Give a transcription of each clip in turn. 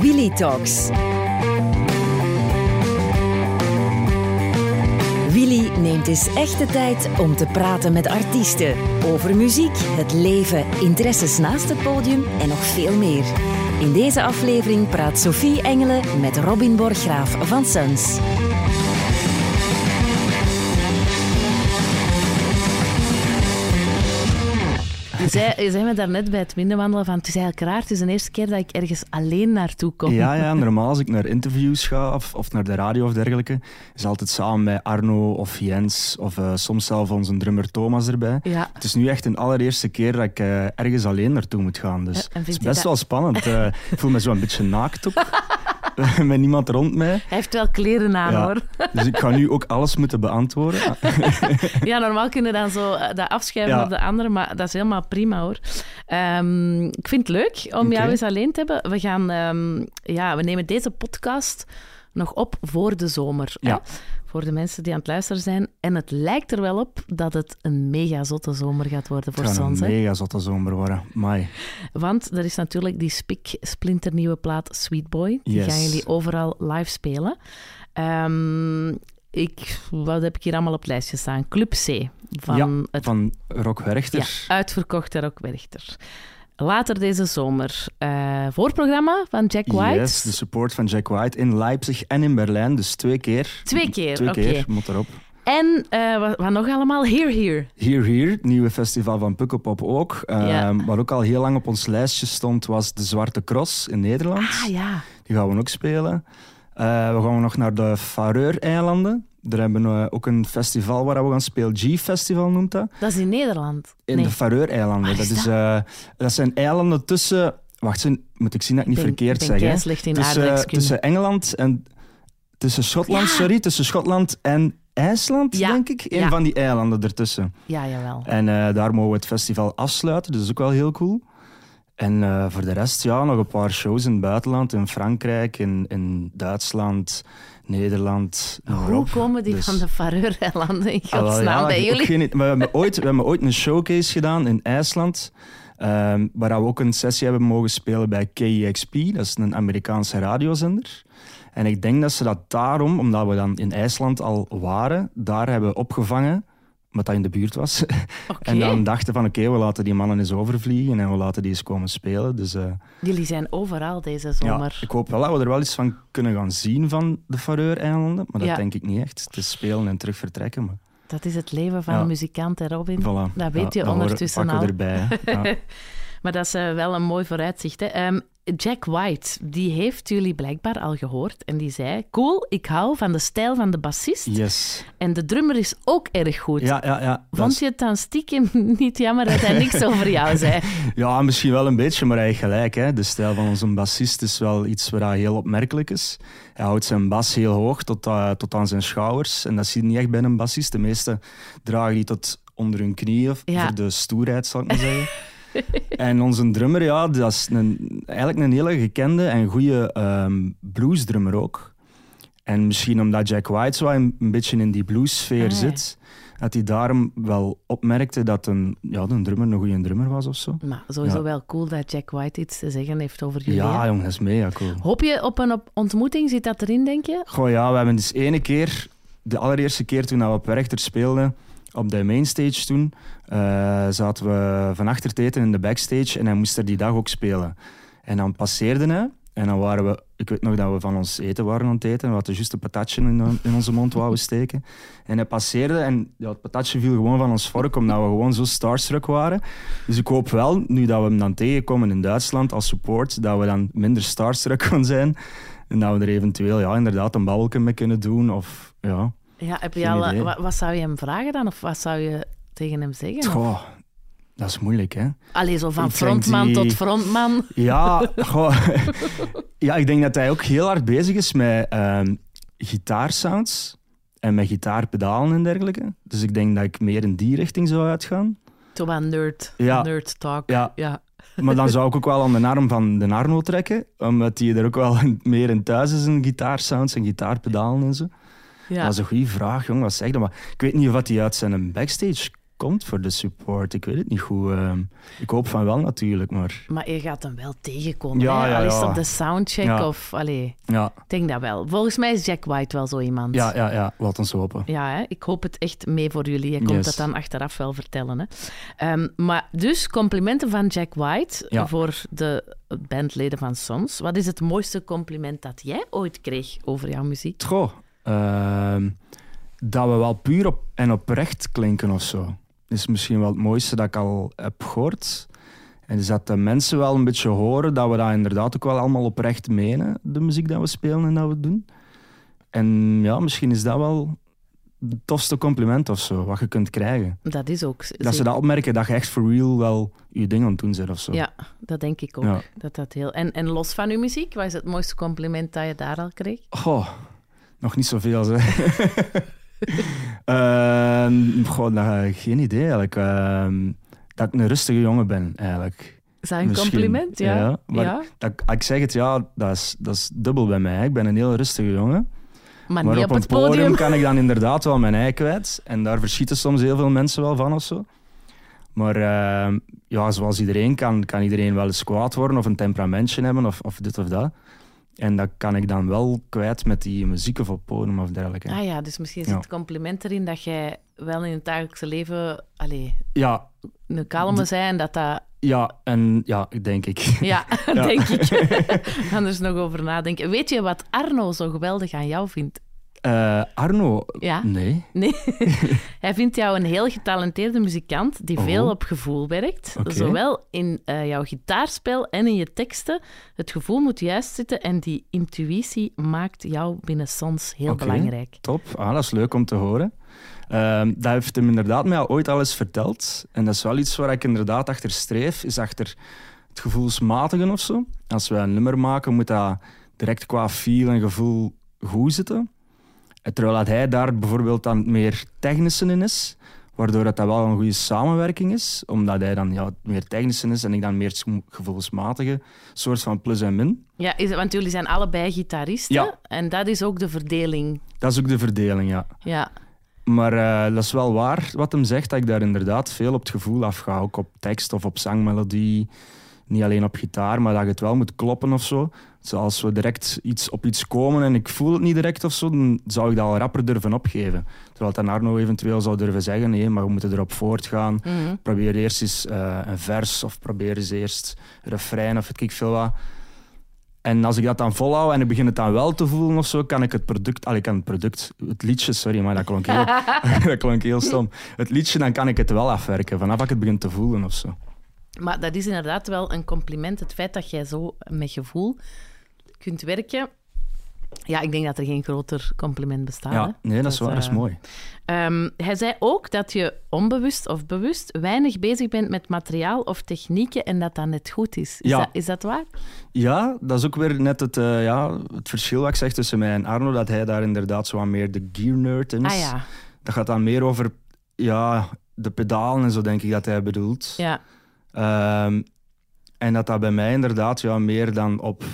Willy Talks. Willy neemt eens echt de tijd om te praten met artiesten. Over muziek, het leven, interesses naast het podium en nog veel meer. In deze aflevering praat Sophie Engelen met Robin Borgraaf van Suns. Je zei, je zei me daarnet bij het binnenwandelen van het is eigenlijk raar, het is de eerste keer dat ik ergens alleen naartoe kom. Ja, ja, normaal als ik naar interviews ga of, of naar de radio of dergelijke, is altijd samen met Arno of Jens of eh, soms zelf onze drummer Thomas erbij. Ja. Het is nu echt een allereerste keer dat ik eh, ergens alleen naartoe moet gaan. Dus Ja, en het is vindt u best dat- wel spannend. Eh, ik voel me zo een beetje naakt ook. Met niemand rond mij. Hij heeft wel kleren aan Ja. hoor. Dus ik ga nu ook alles moeten beantwoorden. Ah, Ja, normaal kunnen we dan zo eh, dat afschuiven Ja. op de anderen, maar dat is helemaal prima hoor. Ehm, ik vind het leuk om jou Oké. eens alleen te hebben. We, gaan, ehm, ja, we nemen deze podcast nog op voor de zomer. hè? Ja. Voor de mensen die aan het luisteren zijn. En het lijkt er wel op dat het een mega zotte zomer gaat worden voor Het gaat een Sons. hè? mega zotte zomer worden. Mai. Want er is natuurlijk die spik, splinternieuwe plaat Sweet Boy. Die Yes. gaan jullie overal live spelen. Ehm, ik, wat heb ik hier allemaal op het lijstje staan? Club C van ja, het van Rock ja, Werchter. uitverkocht daar ook Werchter. Later deze zomer eh, voorprogramma van Jack White. Yes, de support van Jack White in Leipzig en in Berlijn. Dus twee keer. Twee keer, Twee oké. keer, moet erop. En eh, wat, wat nog allemaal? Here, here. Hier, hier, het nieuwe festival van Pukkelpop ook. Ja. Ehm, Wat ook al heel lang op ons lijstje stond, was de Zwarte Cross in Nederland. Ah ja. Die gaan we ook spelen. Eh, we gaan nog naar de Faroe-eilanden. Daar hebben we ook een festival waar we gaan spelen. G-festival noemt dat. Dat is in Nederland. In nee. de Faroe-eilanden. Waar is Dat, is, eh, dat zijn eilanden tussen... Wacht, zijn- moet ik zien dat ik niet ben- verkeerd ben zeg. hè? keislecht in Tussen, aardrijkskunde. tussen Engeland en... Tussen Schotland, Ja. sorry. Tussen Schotland en IJsland, Ja. denk ik. Een Ja. van die eilanden ertussen. Ja, jawel. En eh, daar mogen we het festival afsluiten, dus dat is ook wel heel cool. En eh, voor de rest, ja, nog een paar shows in het buitenland, in Frankrijk, in, in Duitsland, Nederland. noem maar Hoe op. komen die Dus- van de Faroe-eilanden in Ah, wel, godsnaam ja, bij ik heb ook jullie? geen idee. we, hebben ooit, we hebben ooit een showcase gedaan in IJsland, ehm, waar we ook een sessie hebben mogen spelen bij KEXP, dat is een Amerikaanse radiozender. En ik denk dat ze dat daarom, omdat we dan in IJsland al waren, daar hebben opgevangen, omdat dat in de buurt was. Oké. En dan dachten van oké, we laten die mannen eens overvliegen en we laten die eens komen spelen. Dus eh, Jullie zijn overal deze ja, zomer. ik hoop wel dat we er wel iets van kunnen gaan zien van de Faroe-eilanden. Maar dat Ja. denk ik niet echt. Het is spelen en terug vertrekken. Maar Dat is het leven van Ja. een muzikant, hè, Robin. voilà. Dat weet je horen- ondertussen pakken al. we erbij. hè. Ja. Maar dat is eh, wel een mooi vooruitzicht. Hè. Ehm, Jack White, die heeft jullie blijkbaar al gehoord. En die zei, cool, ik hou van de stijl van de bassist. Yes. En de drummer is ook erg goed. Ja, ja, ja. Dat Vond is- je het dan stiekem niet jammer dat hij niks over jou zei? ja, misschien wel een beetje, maar hij heeft gelijk. Hè. De stijl van onze bassist is wel iets waar hij heel opmerkelijk is. Hij houdt zijn bas heel hoog tot, eh, tot aan zijn schouders. En dat zie je niet echt bij een bassist. De meesten dragen die tot onder hun knieën, Ja. voor de stoerheid, zal ik maar zeggen. en onze drummer, ja, dat is een, eigenlijk een hele gekende en goede ehm bluesdrummer ook. En misschien omdat Jack White zo een, een beetje in die bluessfeer Ah, ja. zit, dat hij daarom wel opmerkte dat een, ja, een drummer een goede drummer was of zo. Maar sowieso Ja. wel cool dat Jack White iets te zeggen heeft over jullie. Ja, hè. jongens, dat is mega cool. Hoop je op een op- ontmoeting? Zit dat erin, denk je? Goh, ja, we hebben dus ene keer, de allereerste keer toen we op Werchter speelden, op de mainstage toen, eh, zaten we van achter het eten in de backstage en hij moest er die dag ook spelen. En dan passeerde hij en dan waren we, ik weet nog dat we van ons eten waren aan het eten, we hadden juist een patatje in, in onze mond wouden steken. En hij passeerde en ja, het patatje viel gewoon van ons vork, omdat we gewoon zo starstruck waren. Dus ik hoop wel, nu dat we hem dan tegenkomen in Duitsland als support, dat we dan minder starstruck gaan zijn. En dat we er eventueel ja, inderdaad een babbelje mee kunnen doen. Of ja, Ja, heb je Geen al, idee. wa- wat, zou je hem vragen dan? Of wat zou je tegen hem zeggen? Goh, dat is moeilijk hè. Allee, zo van Ik denk frontman die- tot frontman. Ja, goh. ja, ik denk dat hij ook heel hard bezig is met ehm, gitaarsounds en met gitaarpedalen en dergelijke. Dus ik denk dat ik meer in die richting zou uitgaan. Zo van nerd, Ja. nerd talk. Ja, Ja. maar dan zou ik ook wel aan de arm van de Arno trekken, omdat hij er ook wel meer in thuis is in gitaarsounds en gitaarpedalen en zo. Ja. Dat is een goede vraag, jong. Wat zeg je? Maar ik weet niet of hij uit zijn backstage komt voor de support. Ik weet het niet goed. Ehm, ik hoop van wel natuurlijk, maar Maar je gaat hem wel tegenkomen. Ja, hè? ja, Al is ja. dat de soundcheck Ja. of... Allee, ja, ik denk dat wel. Volgens mij is Jack White wel zo iemand. ja, ja, ja laat ons hopen. Ja, hè? ik hoop het echt mee voor jullie. Je komt Yes. dat dan achteraf wel vertellen. Hè? Ehm, maar dus, complimenten van Jack White Ja. voor de bandleden van Sons. Wat is het mooiste compliment dat jij ooit kreeg over jouw muziek? Goh, ehm, dat we wel puur op en oprecht klinken of zo. Is misschien wel het mooiste dat ik al heb gehoord. En is dat de mensen wel een beetje horen dat we dat inderdaad ook wel allemaal oprecht menen, de muziek dat we spelen en dat we doen. En ja, misschien is dat wel het tofste compliment of zo, wat je kunt krijgen. Dat is ook... Dat ze dat opmerken, dat je echt for real wel je ding aan het doen bent of zo. Ja, dat denk ik ook. Ja. Dat dat heel... en, en los van uw muziek, wat is het mooiste compliment dat je daar al kreeg? Goh, nog niet zoveel zeg. Ehm goh, nou, geen idee eigenlijk. Ehm, dat ik een rustige jongen ben eigenlijk. Is dat een Misschien, compliment? Ja. ja, maar- Ja. Dat, ik- ik zeg het, ja, dat is, dat is dubbel bij mij. Ik ben een heel rustige jongen. Maar, maar niet op, Ah, op, een het podium. kan ik dan inderdaad wel mijn ei kwijt. En daar verschieten soms heel veel mensen wel van of zo. Maar ehm, ja, zoals iedereen kan, kan iedereen wel eens kwaad worden of een temperamentje hebben of, of dit of dat. En dat kan ik dan wel kwijt met die muziek of op podium of dergelijke. Ah ja, dus misschien Ja. zit het compliment erin dat jij wel in het dagelijkse leven allee, Ja, een kalme D- zijn dat dat... Ja, en ja, denk ik. Ja, Ja. denk ik. Anders nog over nadenken. Weet je wat Arno zo geweldig aan jou vindt? Eh, Arno, Ja. nee. Nee. Hij vindt jou een heel getalenteerde muzikant die Oh. veel op gevoel werkt. Oké. Zowel in eh, jouw gitaarspel en in je teksten. Het gevoel moet juist zitten en die intuïtie maakt jou binnen Sons heel Oké. belangrijk. Top, ah, dat is leuk om te horen. Ehm, dat heeft hem inderdaad mij al ooit al eens verteld. En dat is wel iets waar ik inderdaad achter streef, is achter het gevoelsmatigen of zo. Als we een nummer maken, moet dat direct qua feel en gevoel goed zitten. En terwijl dat hij daar bijvoorbeeld dan meer technische in is, waardoor dat, dat wel een goede samenwerking is, omdat hij dan ja, meer technische is en ik dan meer gevoelsmatige, soort van plus en min. Ja, is, want jullie zijn allebei gitaristen. Ja. En dat is ook de verdeling. Dat is ook de verdeling, ja. Ja. Maar eh, dat is wel waar wat hem zegt, dat ik daar inderdaad veel op het gevoel afga. Ook op tekst of op zangmelodie. Niet alleen op gitaar, maar dat het wel moet kloppen of zo. Zoals we direct iets op iets komen en ik voel het niet direct of zo, dan zou ik dat al rapper durven opgeven. Terwijl dan Arno eventueel zou durven zeggen, nee, maar we moeten erop voortgaan. Mhm. Probeer eerst eens eh, een vers of probeer eens eerst een refrein of weet ik veel wat. En als ik dat dan volhou en ik begin het dan wel te voelen of zo, kan ik het product, al ik kan het product, het liedje, sorry, maar dat klonk heel, dat klonk heel stom. Het liedje, dan kan ik het wel afwerken, vanaf ik het begin te voelen of zo. Maar dat is inderdaad wel een compliment, het feit dat jij zo met gevoel kunt werken. Ja, ik denk dat er geen groter compliment bestaat. Ah, hè? ja, nee, dat is waar, dat is eh, mooi. Ehm, hij zei ook dat je onbewust of bewust weinig bezig bent met materiaal of technieken en dat dat net goed is. Is, Ja. dat, is dat waar? Ja, dat is ook weer net het, eh, ja, het verschil wat ik zeg tussen mij en Arno, dat hij daar inderdaad zo wat meer de gear nerd in is. Ah ja, Dat gaat dan meer over ja, de pedalen en zo, denk ik dat hij bedoelt. ja. Ehm, en dat dat bij mij inderdaad ja, meer dan op...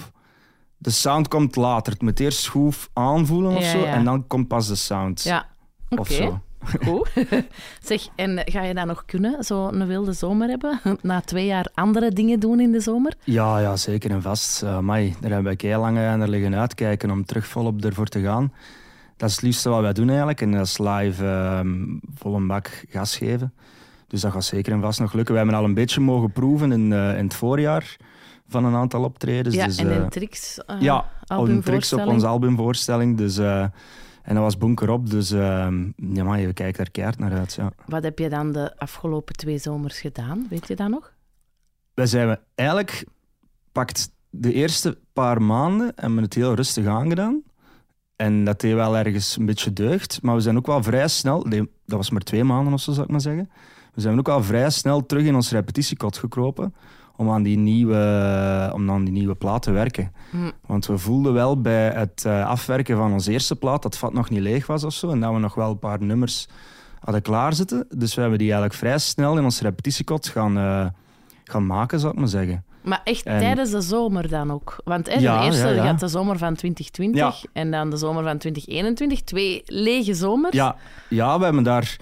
De sound komt later. Het moet eerst goed aanvoelen of Ja, zo. ja. En dan komt pas de sound. ja. Oké, Of zo. goed. zeg, en ga je dat nog kunnen, zo'n wilde zomer hebben? Na twee jaar andere dingen doen in de zomer? Ja, ja, zeker en vast. Eh amai, daar heb ik heel lang eh, naar liggen uitkijken om terug volop ervoor te gaan. Dat is het liefste wat wij doen eigenlijk. En dat is live ehm vol een bak gas geven. Dus dat gaat zeker en vast nog lukken. We hebben al een beetje mogen proeven in, eh, in het voorjaar van een aantal optredens. ja, dus, en eh, een tricks. eh, ja, een tricks op albumvoorstelling. onze albumvoorstelling. Dus, eh, en dat was bunker op. Dus ehm ja, maar je kijkt daar keihard naar uit. Ja. Wat heb je dan de afgelopen twee zomers gedaan? Weet je dat nog? Wij zijn we eigenlijk pakt de eerste paar maanden hebben we het heel rustig aangedaan. En dat deed wel ergens een beetje deugd. Maar we zijn ook wel vrij snel, nee, dat was maar twee maanden of zo zou ik maar zeggen. We zijn ook wel vrij snel terug in ons repetitiekot gekropen om aan die nieuwe, om aan die nieuwe plaat te werken. Hm. Want we voelden wel bij het eh, afwerken van onze eerste plaat dat het vat nog niet leeg was of zo. En dat we nog wel een paar nummers hadden klaarzitten. Dus we hebben die eigenlijk vrij snel in ons repetitiekot gaan, eh, gaan maken, zou ik maar zeggen. Maar echt En- tijdens de zomer dan ook. Want hè, Ja, de eerste ja, ja. gaat de zomer van 2020 en dan de zomer van 2021. Twee lege zomers. Ja, ja we hebben daar.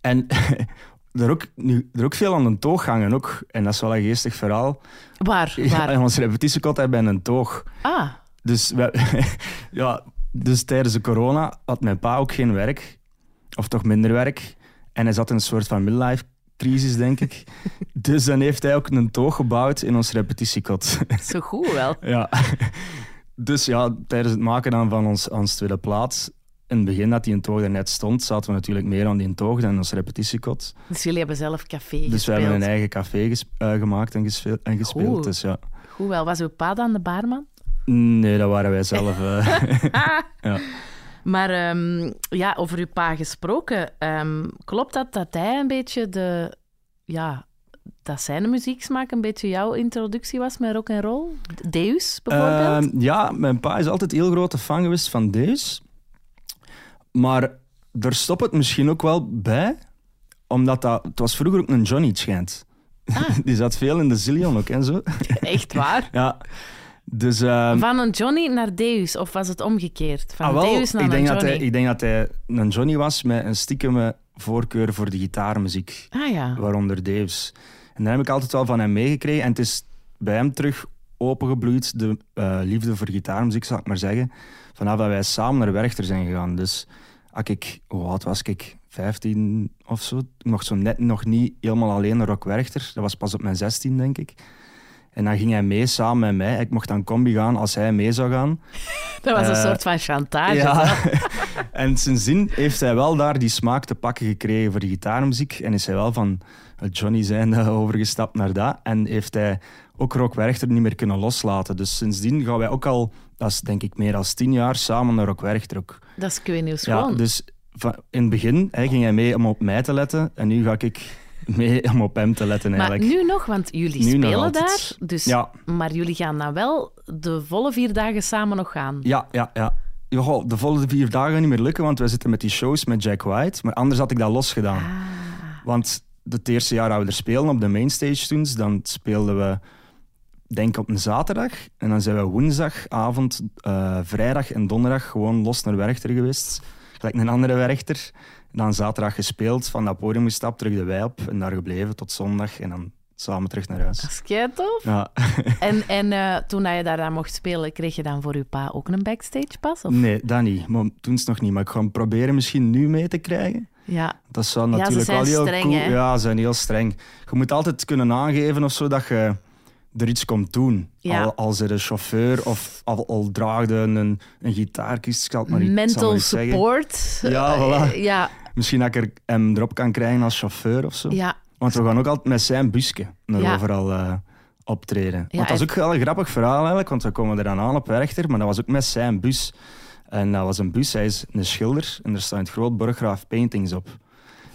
En er ook, nu, er ook veel aan een toog hangen. Ook. En dat is wel een geestig verhaal. Waar? Ja, waar? in ons repetitiekot hebben we een toog. Ah, Dus, we, ja, dus tijdens de corona had mijn pa ook geen werk. Of toch minder werk. En hij zat in een soort van midlife crisis, denk ik. dus dan heeft hij ook een toog gebouwd in ons repetitiekot. zo goed wel. ja. Dus ja, tijdens het maken dan van ons, ons tweede plaat, in het begin dat die een toog er net stond, zaten we natuurlijk meer aan die toog dan in ons repetitiekot. Dus jullie hebben zelf café Dus gespeeld. we hebben een eigen café ges- eh, gemaakt en, gespe- en gespeeld. Goed. Dus ja. Goed wel. Was uw pa dan de baarman? Nee, dat waren wij zelf. eh. Maar ehm, ja, over uw pa gesproken, ehm, klopt dat dat hij een beetje de... Ja, dat zijn muzieksmaak een beetje jouw introductie was met rock en roll? Deus bijvoorbeeld? Ehm, ja, mijn pa is altijd heel grote fan geweest van Deus. Maar daar stopt het misschien ook wel bij, omdat dat, het was vroeger ook een Johnny, het schijnt. Ah. Die zat veel in de Zillion ook en zo. Echt waar? Ja. Dus, ehm, Van een Johnny naar Deus, of was het omgekeerd? Van ah, wel, Deus naar ik denk een dat Johnny? hij, Ik denk dat hij een Johnny was met een stiekeme voorkeur voor de gitaarmuziek, Ah ja. waaronder Deus. En daar heb ik altijd wel van hem meegekregen. En het is bij hem terug opengebloeid, de eh, liefde voor gitaarmuziek, zal ik maar zeggen. Vanaf dat wij samen naar Werchter zijn gegaan. Dus als ik, hoe oud was ik? 15 of zo. Ik mocht zo net nog niet helemaal alleen naar Rock Werchter. Dat was pas op mijn 16, denk ik. En dan ging hij mee samen met mij. Ik mocht dan combi gaan als hij mee zou gaan. Dat was een eh, soort van chantage. Ja. en sindsdien heeft hij wel daar die smaak te pakken gekregen voor de gitaarmuziek. En is hij wel van het Johnny zijn eh, overgestapt naar dat. En heeft hij ook Rock Werchter niet meer kunnen loslaten. Dus sindsdien gaan wij ook al, dat is denk ik meer dan tien jaar, samen naar Rock Werchter ook. Dat is Queen gewoon. Ja, dus va- in het begin hè, ging hij mee om op mij te letten. En nu ga ik mee om op hem te letten maar eigenlijk. nu nog, want jullie Nu nog spelen daar. altijd. Dus, Ja. Maar jullie gaan dan wel de volle vier dagen samen nog gaan. Ja, ja, ja. Joh, de volgende vier dagen gaat niet meer lukken, want wij zitten met die shows met Jack White. Maar anders had ik dat losgedaan. Want het eerste jaar dat we er spelen op de mainstage toen, dan speelden we denk op een zaterdag. En dan zijn we woensdagavond, eh, vrijdag en donderdag gewoon los naar Werchter geweest. Gelijk een andere Werchter. Dan zaterdag gespeeld, van dat podium gestapt, terug de wei op. En daar gebleven tot zondag en dan samen terug naar Dat huis. is keitof. Ja. En, en eh, toen dat je daar dan mocht spelen, kreeg je dan voor je pa ook een backstage pas? Of? Nee, dat niet. Maar toen is het nog niet. Maar ik ga hem proberen misschien nu mee te krijgen. Ja. Dat zou Ja, ze natuurlijk zijn wel heel streng, cool. hè? Ja, ze zijn heel streng. Je moet altijd kunnen aangeven of zo dat je er iets komt doen. Ja. Al, als er een chauffeur of al, al draagde een, een gitaarkist, ik zal het maar niet- ik zal het maar Mental niet zeggen. support. Ja, voilà. Eh, Ja, Misschien dat ik er hem erop kan krijgen als chauffeur of zo. ja. Want we gaan ook altijd met zijn busje naar Ja. overal eh, optreden. Ja, want dat is ook wel een grappig verhaal eigenlijk, want we komen eraan aan op Werchter, maar dat was ook met zijn bus. En dat was een bus, hij is een schilder en er staan het groot Borggraaf paintings op.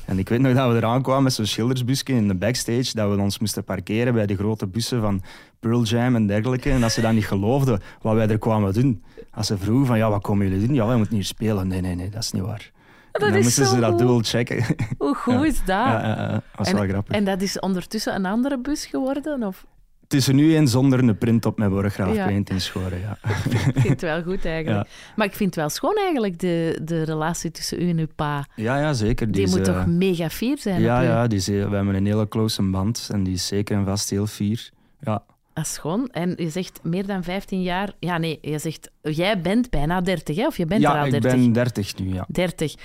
En ik weet nog dat we eraan kwamen met zo'n schildersbusje in de backstage, dat we ons moesten parkeren bij de grote bussen van Pearl Jam en dergelijke. En dat ze dan niet geloofden wat wij er kwamen doen. Als ze vroegen van, ja, wat komen jullie doen? Ja, wij moeten hier spelen. Nee, nee, nee, dat is niet waar. En dan is moesten zo ze dat goed. dubbel checken. Hoe goed is dat? ja, ja, ja, dat was wel grappig. En dat is ondertussen een andere bus geworden? Of? Het is er nu in zonder een print op mijn borggraaf Ja. ja. in schoren. Ja. Ik vind het wel goed eigenlijk. Maar ik vind het wel schoon eigenlijk, de, de relatie tussen u en uw pa. ja, ja, zeker. Die is, moet eh, toch mega fier zijn Ja, op u? ja die is, heel- we hebben een hele close band en die is zeker en vast heel fier. Ja, Dat is schoon. En je zegt meer dan 15 jaar... Ja, nee, je zegt... Jij bent bijna 30, hè? Of je bent er ja al ik 30? ben 30 nu. Ja, 30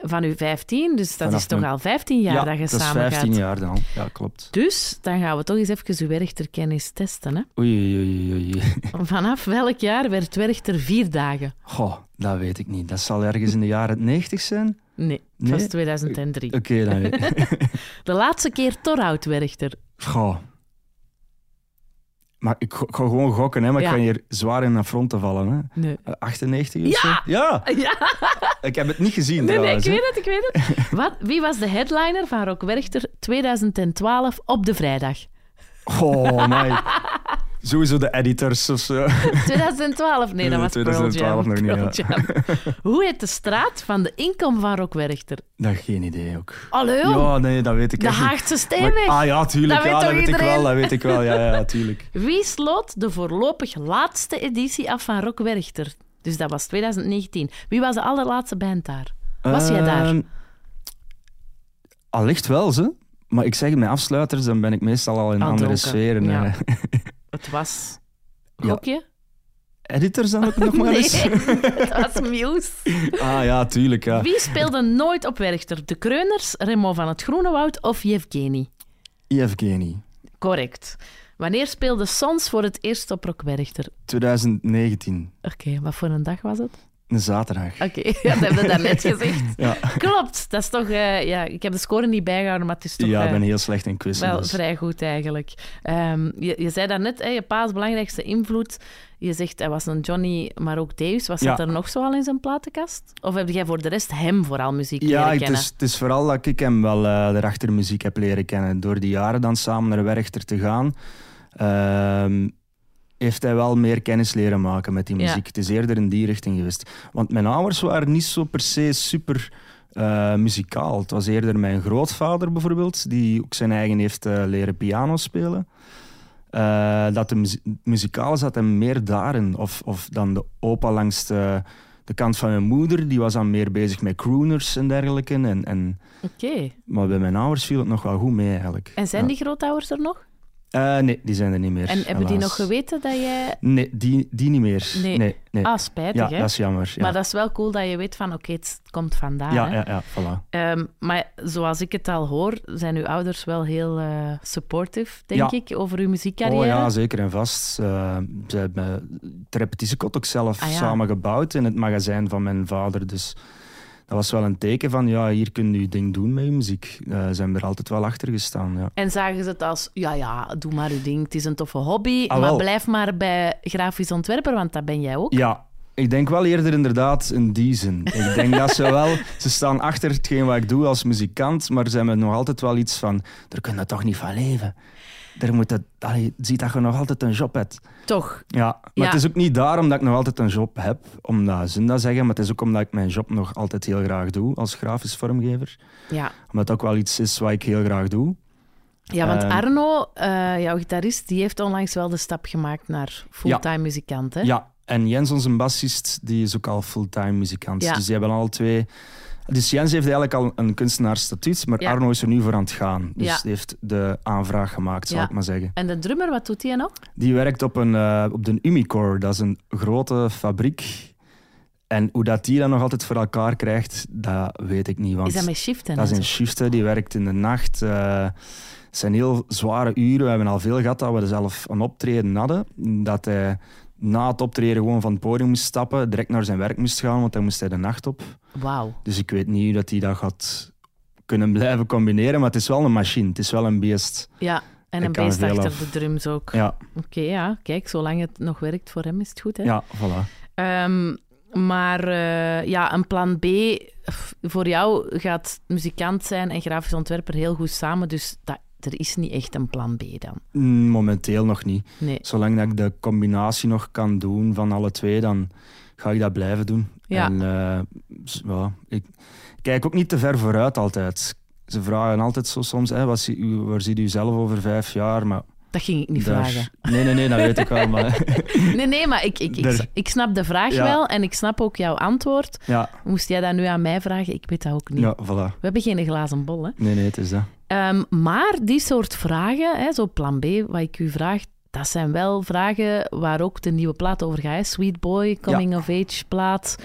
van uw 15, dus dat Vanaf is toch mijn- al 15 jaar ja dat je dat is samen 15 gaat. jaar dan. Ja, klopt. Dus dan gaan we toch eens even uw werchterkennis testen. Hè? Oei, oei, oei, oei, oei. Vanaf welk jaar werd werchter vier dagen? Goh, dat weet ik niet. Dat zal ergens in de jaren 90 zijn. Nee, dat Nee? Eh, was 2003. Oké, dan weet ik. De laatste keer Torhout werchter. Goh. Maar ik go- ik ga gewoon gokken, hè, maar Ja. ik ga hier zwaar in de front te vallen. Hè. Nee. Eh, 98 of Ja! zo? Ja! Ja, Ik heb het niet gezien nee, nee, ik trouwens. hè. weet het, ik weet het. Wat, wie was de headliner van Rock Werchter 2012 op de vrijdag? Oh, my. Sowieso de editors of zo. 2012? Nee, dat was Pearl 2012 Jam. Eh, nog niet, Pearl Jam. Hoe heet de straat van de inkom van Rock Werchter? Dat geen idee ook. Allee, jong. Ja, nee, dat weet ik Oh. de echt niet. Haagse Maar- Steenweg. ah ja, tuurlijk. Dat weet ja, dat toch weet ik iedereen? wel. Dat weet ik wel. Ja, ja, tuurlijk. Wie sloot de voorlopig laatste editie af van Rock Werchter? Dus dat was 2019. Wie was de Eh, allerlaatste band daar? Was jij daar? Ehm, Allicht wel, ze. Maar ik zeg, met afsluiters, dan ben ik meestal al in Al andere dronken, sferen. ja. eh. Het was... Ja. Gokje? editors dan ook nog maar dus- eens? Nee, het was Muse. Ah ja, tuurlijk. Ja. Wie speelde nooit op Werchter? De Kreuners, Remo van het Groenewoud of Yevgeny? Evgeny, Correct. Wanneer speelde Sons voor het eerst op Rock Werchter? 2019, Oké, wat voor een dag was het? een zaterdag. Oké, dat hebben we daarnet gezegd. Ja, Klopt, dat is toch... eh, ja, ik heb de score niet bijgehouden, maar het is toch... ja, ik eh, ben heel slecht in quizzen. Wel dus- vrij goed eigenlijk. Ehm, je, je zei daarnet, hè, je pa's belangrijkste invloed. Je zegt hij was een Johnny, maar ook Deus. Wat zat Ja. er nog zoal in zijn platenkast? Of heb jij voor de rest hem vooral muziek Ja, dus- leren het kennen? is, het is vooral dat ik hem wel eh erachter muziek heb leren kennen. Door die jaren dan samen naar Werchter te gaan, ehm, heeft hij wel meer kennis leren maken met die Ja. muziek. Het is eerder in die richting geweest. Want mijn ouders waren niet zo per se super eh, muzikaal. Het was eerder mijn grootvader bijvoorbeeld, die ook zijn eigen heeft eh, leren piano spelen. Eh, dat de muzie- muzikale zat hem meer daarin. Of, of dan de opa langs de, de kant van mijn moeder, die was dan meer bezig met crooners en dergelijke. En, en, Oké. maar bij mijn ouders viel het nog wel goed mee eigenlijk. En zijn Ja. die grootouders er nog? Eh, nee, die zijn er niet meer. En hebben die helaas. nog geweten dat jij... Nee, die, die niet meer. Nee. Nee, nee. Ah, spijtig, ja, hè? dat is jammer. Ja, Maar dat is wel cool dat je weet van, oké, het komt vandaan. ja, hè? ja, ja, voilà. Ehm, maar zoals ik het al hoor, zijn uw ouders wel heel eh, supportive, denk Ja. ik, over uw muziekcarrière. Oh ja, zeker en vast. Eh, ze hebben het repetitiekot ook zelf Ah ja. samen gebouwd in het magazijn van mijn vader. Dus dat was wel een teken van, ja, hier kun je je ding doen met je muziek. Eh, ze hebben er altijd wel achter gestaan, ja. En zagen ze het als, ja, ja, doe maar uw ding, het is een toffe hobby, Ah, maar wel. blijf maar bij grafisch ontwerper, want dat ben jij ook. Ja, ik denk wel eerder inderdaad in die zin. Ik denk dat ze wel... Ze staan achter hetgeen wat ik doe als muzikant, maar ze hebben nog altijd wel iets van... Daar kunnen we toch niet van leven? Daar moet het, allee, ziet dat je nog altijd een job hebt. Toch? Ja, maar Ja. het is ook niet daarom dat ik nog altijd een job heb, om dat zin dat zeggen, maar het is ook omdat ik mijn job nog altijd heel graag doe als grafisch vormgever. Ja. Omdat het ook wel iets is wat ik heel graag doe. Ja, want Ehm. Arno, eh, jouw gitarist, die heeft onlangs wel de stap gemaakt naar fulltime muzikant, hè? Ja, en Jens, onze bassist, die is ook al fulltime muzikant. Ja. Dus die hebben al twee... Dus Jens heeft eigenlijk al een kunstenaarsstatuut, maar Ja. Arno is er nu voor aan het gaan. Dus Ja. die heeft de aanvraag gemaakt, zal Ja. ik maar zeggen. En de drummer, wat doet hij nog? Die werkt op, een, eh, op de Umicore, dat is een grote fabriek. En hoe dat die dat nog altijd voor elkaar krijgt, dat weet ik niet. Want Is dat met shiften? dat en zijn zo? shiften, die werkt in de nacht. eh, Het zijn heel zware uren. We hebben al veel gehad dat we zelf een optreden hadden. Dat hij na het optreden gewoon van het podium moest stappen, direct naar zijn werk moest gaan, want dan moest hij de nacht op. Wauw. Dus ik weet niet hoe dat hij dat gaat kunnen blijven combineren, maar het is wel een machine, het is wel een beest. Ja, en Ik een kan er beest veel achter af. de drums ook. Ja, Oké, ja. Kijk, zolang het nog werkt voor hem, is het goed, hè? ja voilà. Ehm, maar eh, ja, een plan B f- voor jou gaat muzikant zijn en grafisch ontwerper heel goed samen. Dus dat, er is niet echt een plan B dan. Mm, Momenteel nog niet. Nee. Zolang dat ik de combinatie nog kan doen van alle twee, dan ga ik dat blijven doen. Ja. En, eh, s- ja, ik kijk ook niet te ver vooruit altijd. Ze vragen altijd zo soms, hè, wat zie, u- waar ziet u zelf over vijf jaar? Maar Dat ging ik niet daar- vragen. Nee, nee, nee, dat weet ik wel. Maar, Nee, nee, maar ik, ik, ik, Daar- ik snap de vraag Ja. wel en ik snap ook jouw antwoord. ja, Moest jij dat nu aan mij vragen? Ik weet dat ook niet. ja, voilà. We hebben geen glazen bol, hè? Nee, nee, het is dat. Ehm, maar die soort vragen, hè, zo plan B, wat ik u vraag, dat zijn wel vragen waar ook de nieuwe plaat over gaat. hè. Sweet Boy, Coming of Age plaat.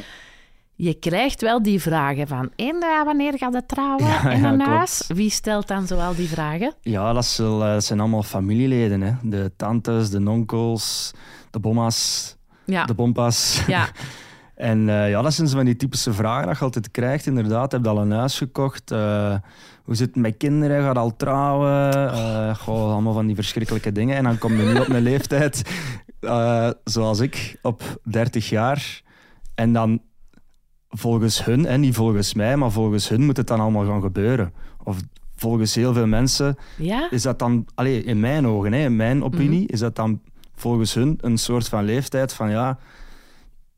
Je krijgt wel die vragen van, en eh, wanneer gaat het trouwen? Ja, en ja, een klopt. huis? Wie stelt dan zoal die vragen? Ja, dat, is wel, eh, dat zijn allemaal familieleden. Hè. De tantes, de nonkels, de bomma's, Ja, de bompas. Ah. ja, En eh, ja, dat zijn zo van die typische vragen dat je altijd krijgt. Inderdaad, heb je al een huis gekocht? Eh, hoe zit het met kinderen? Gaat al trouwen? Eh, goh, allemaal van die verschrikkelijke dingen. En dan kom je nu op mijn leeftijd, eh, zoals ik, op 30 jaar. En dan volgens hun, en niet volgens mij, maar volgens hun moet het dan allemaal gaan gebeuren. Of volgens heel veel mensen ja. is dat dan, allee, in mijn ogen, hè, in mijn opinie, Mhm. is dat dan volgens hun een soort van leeftijd van ja,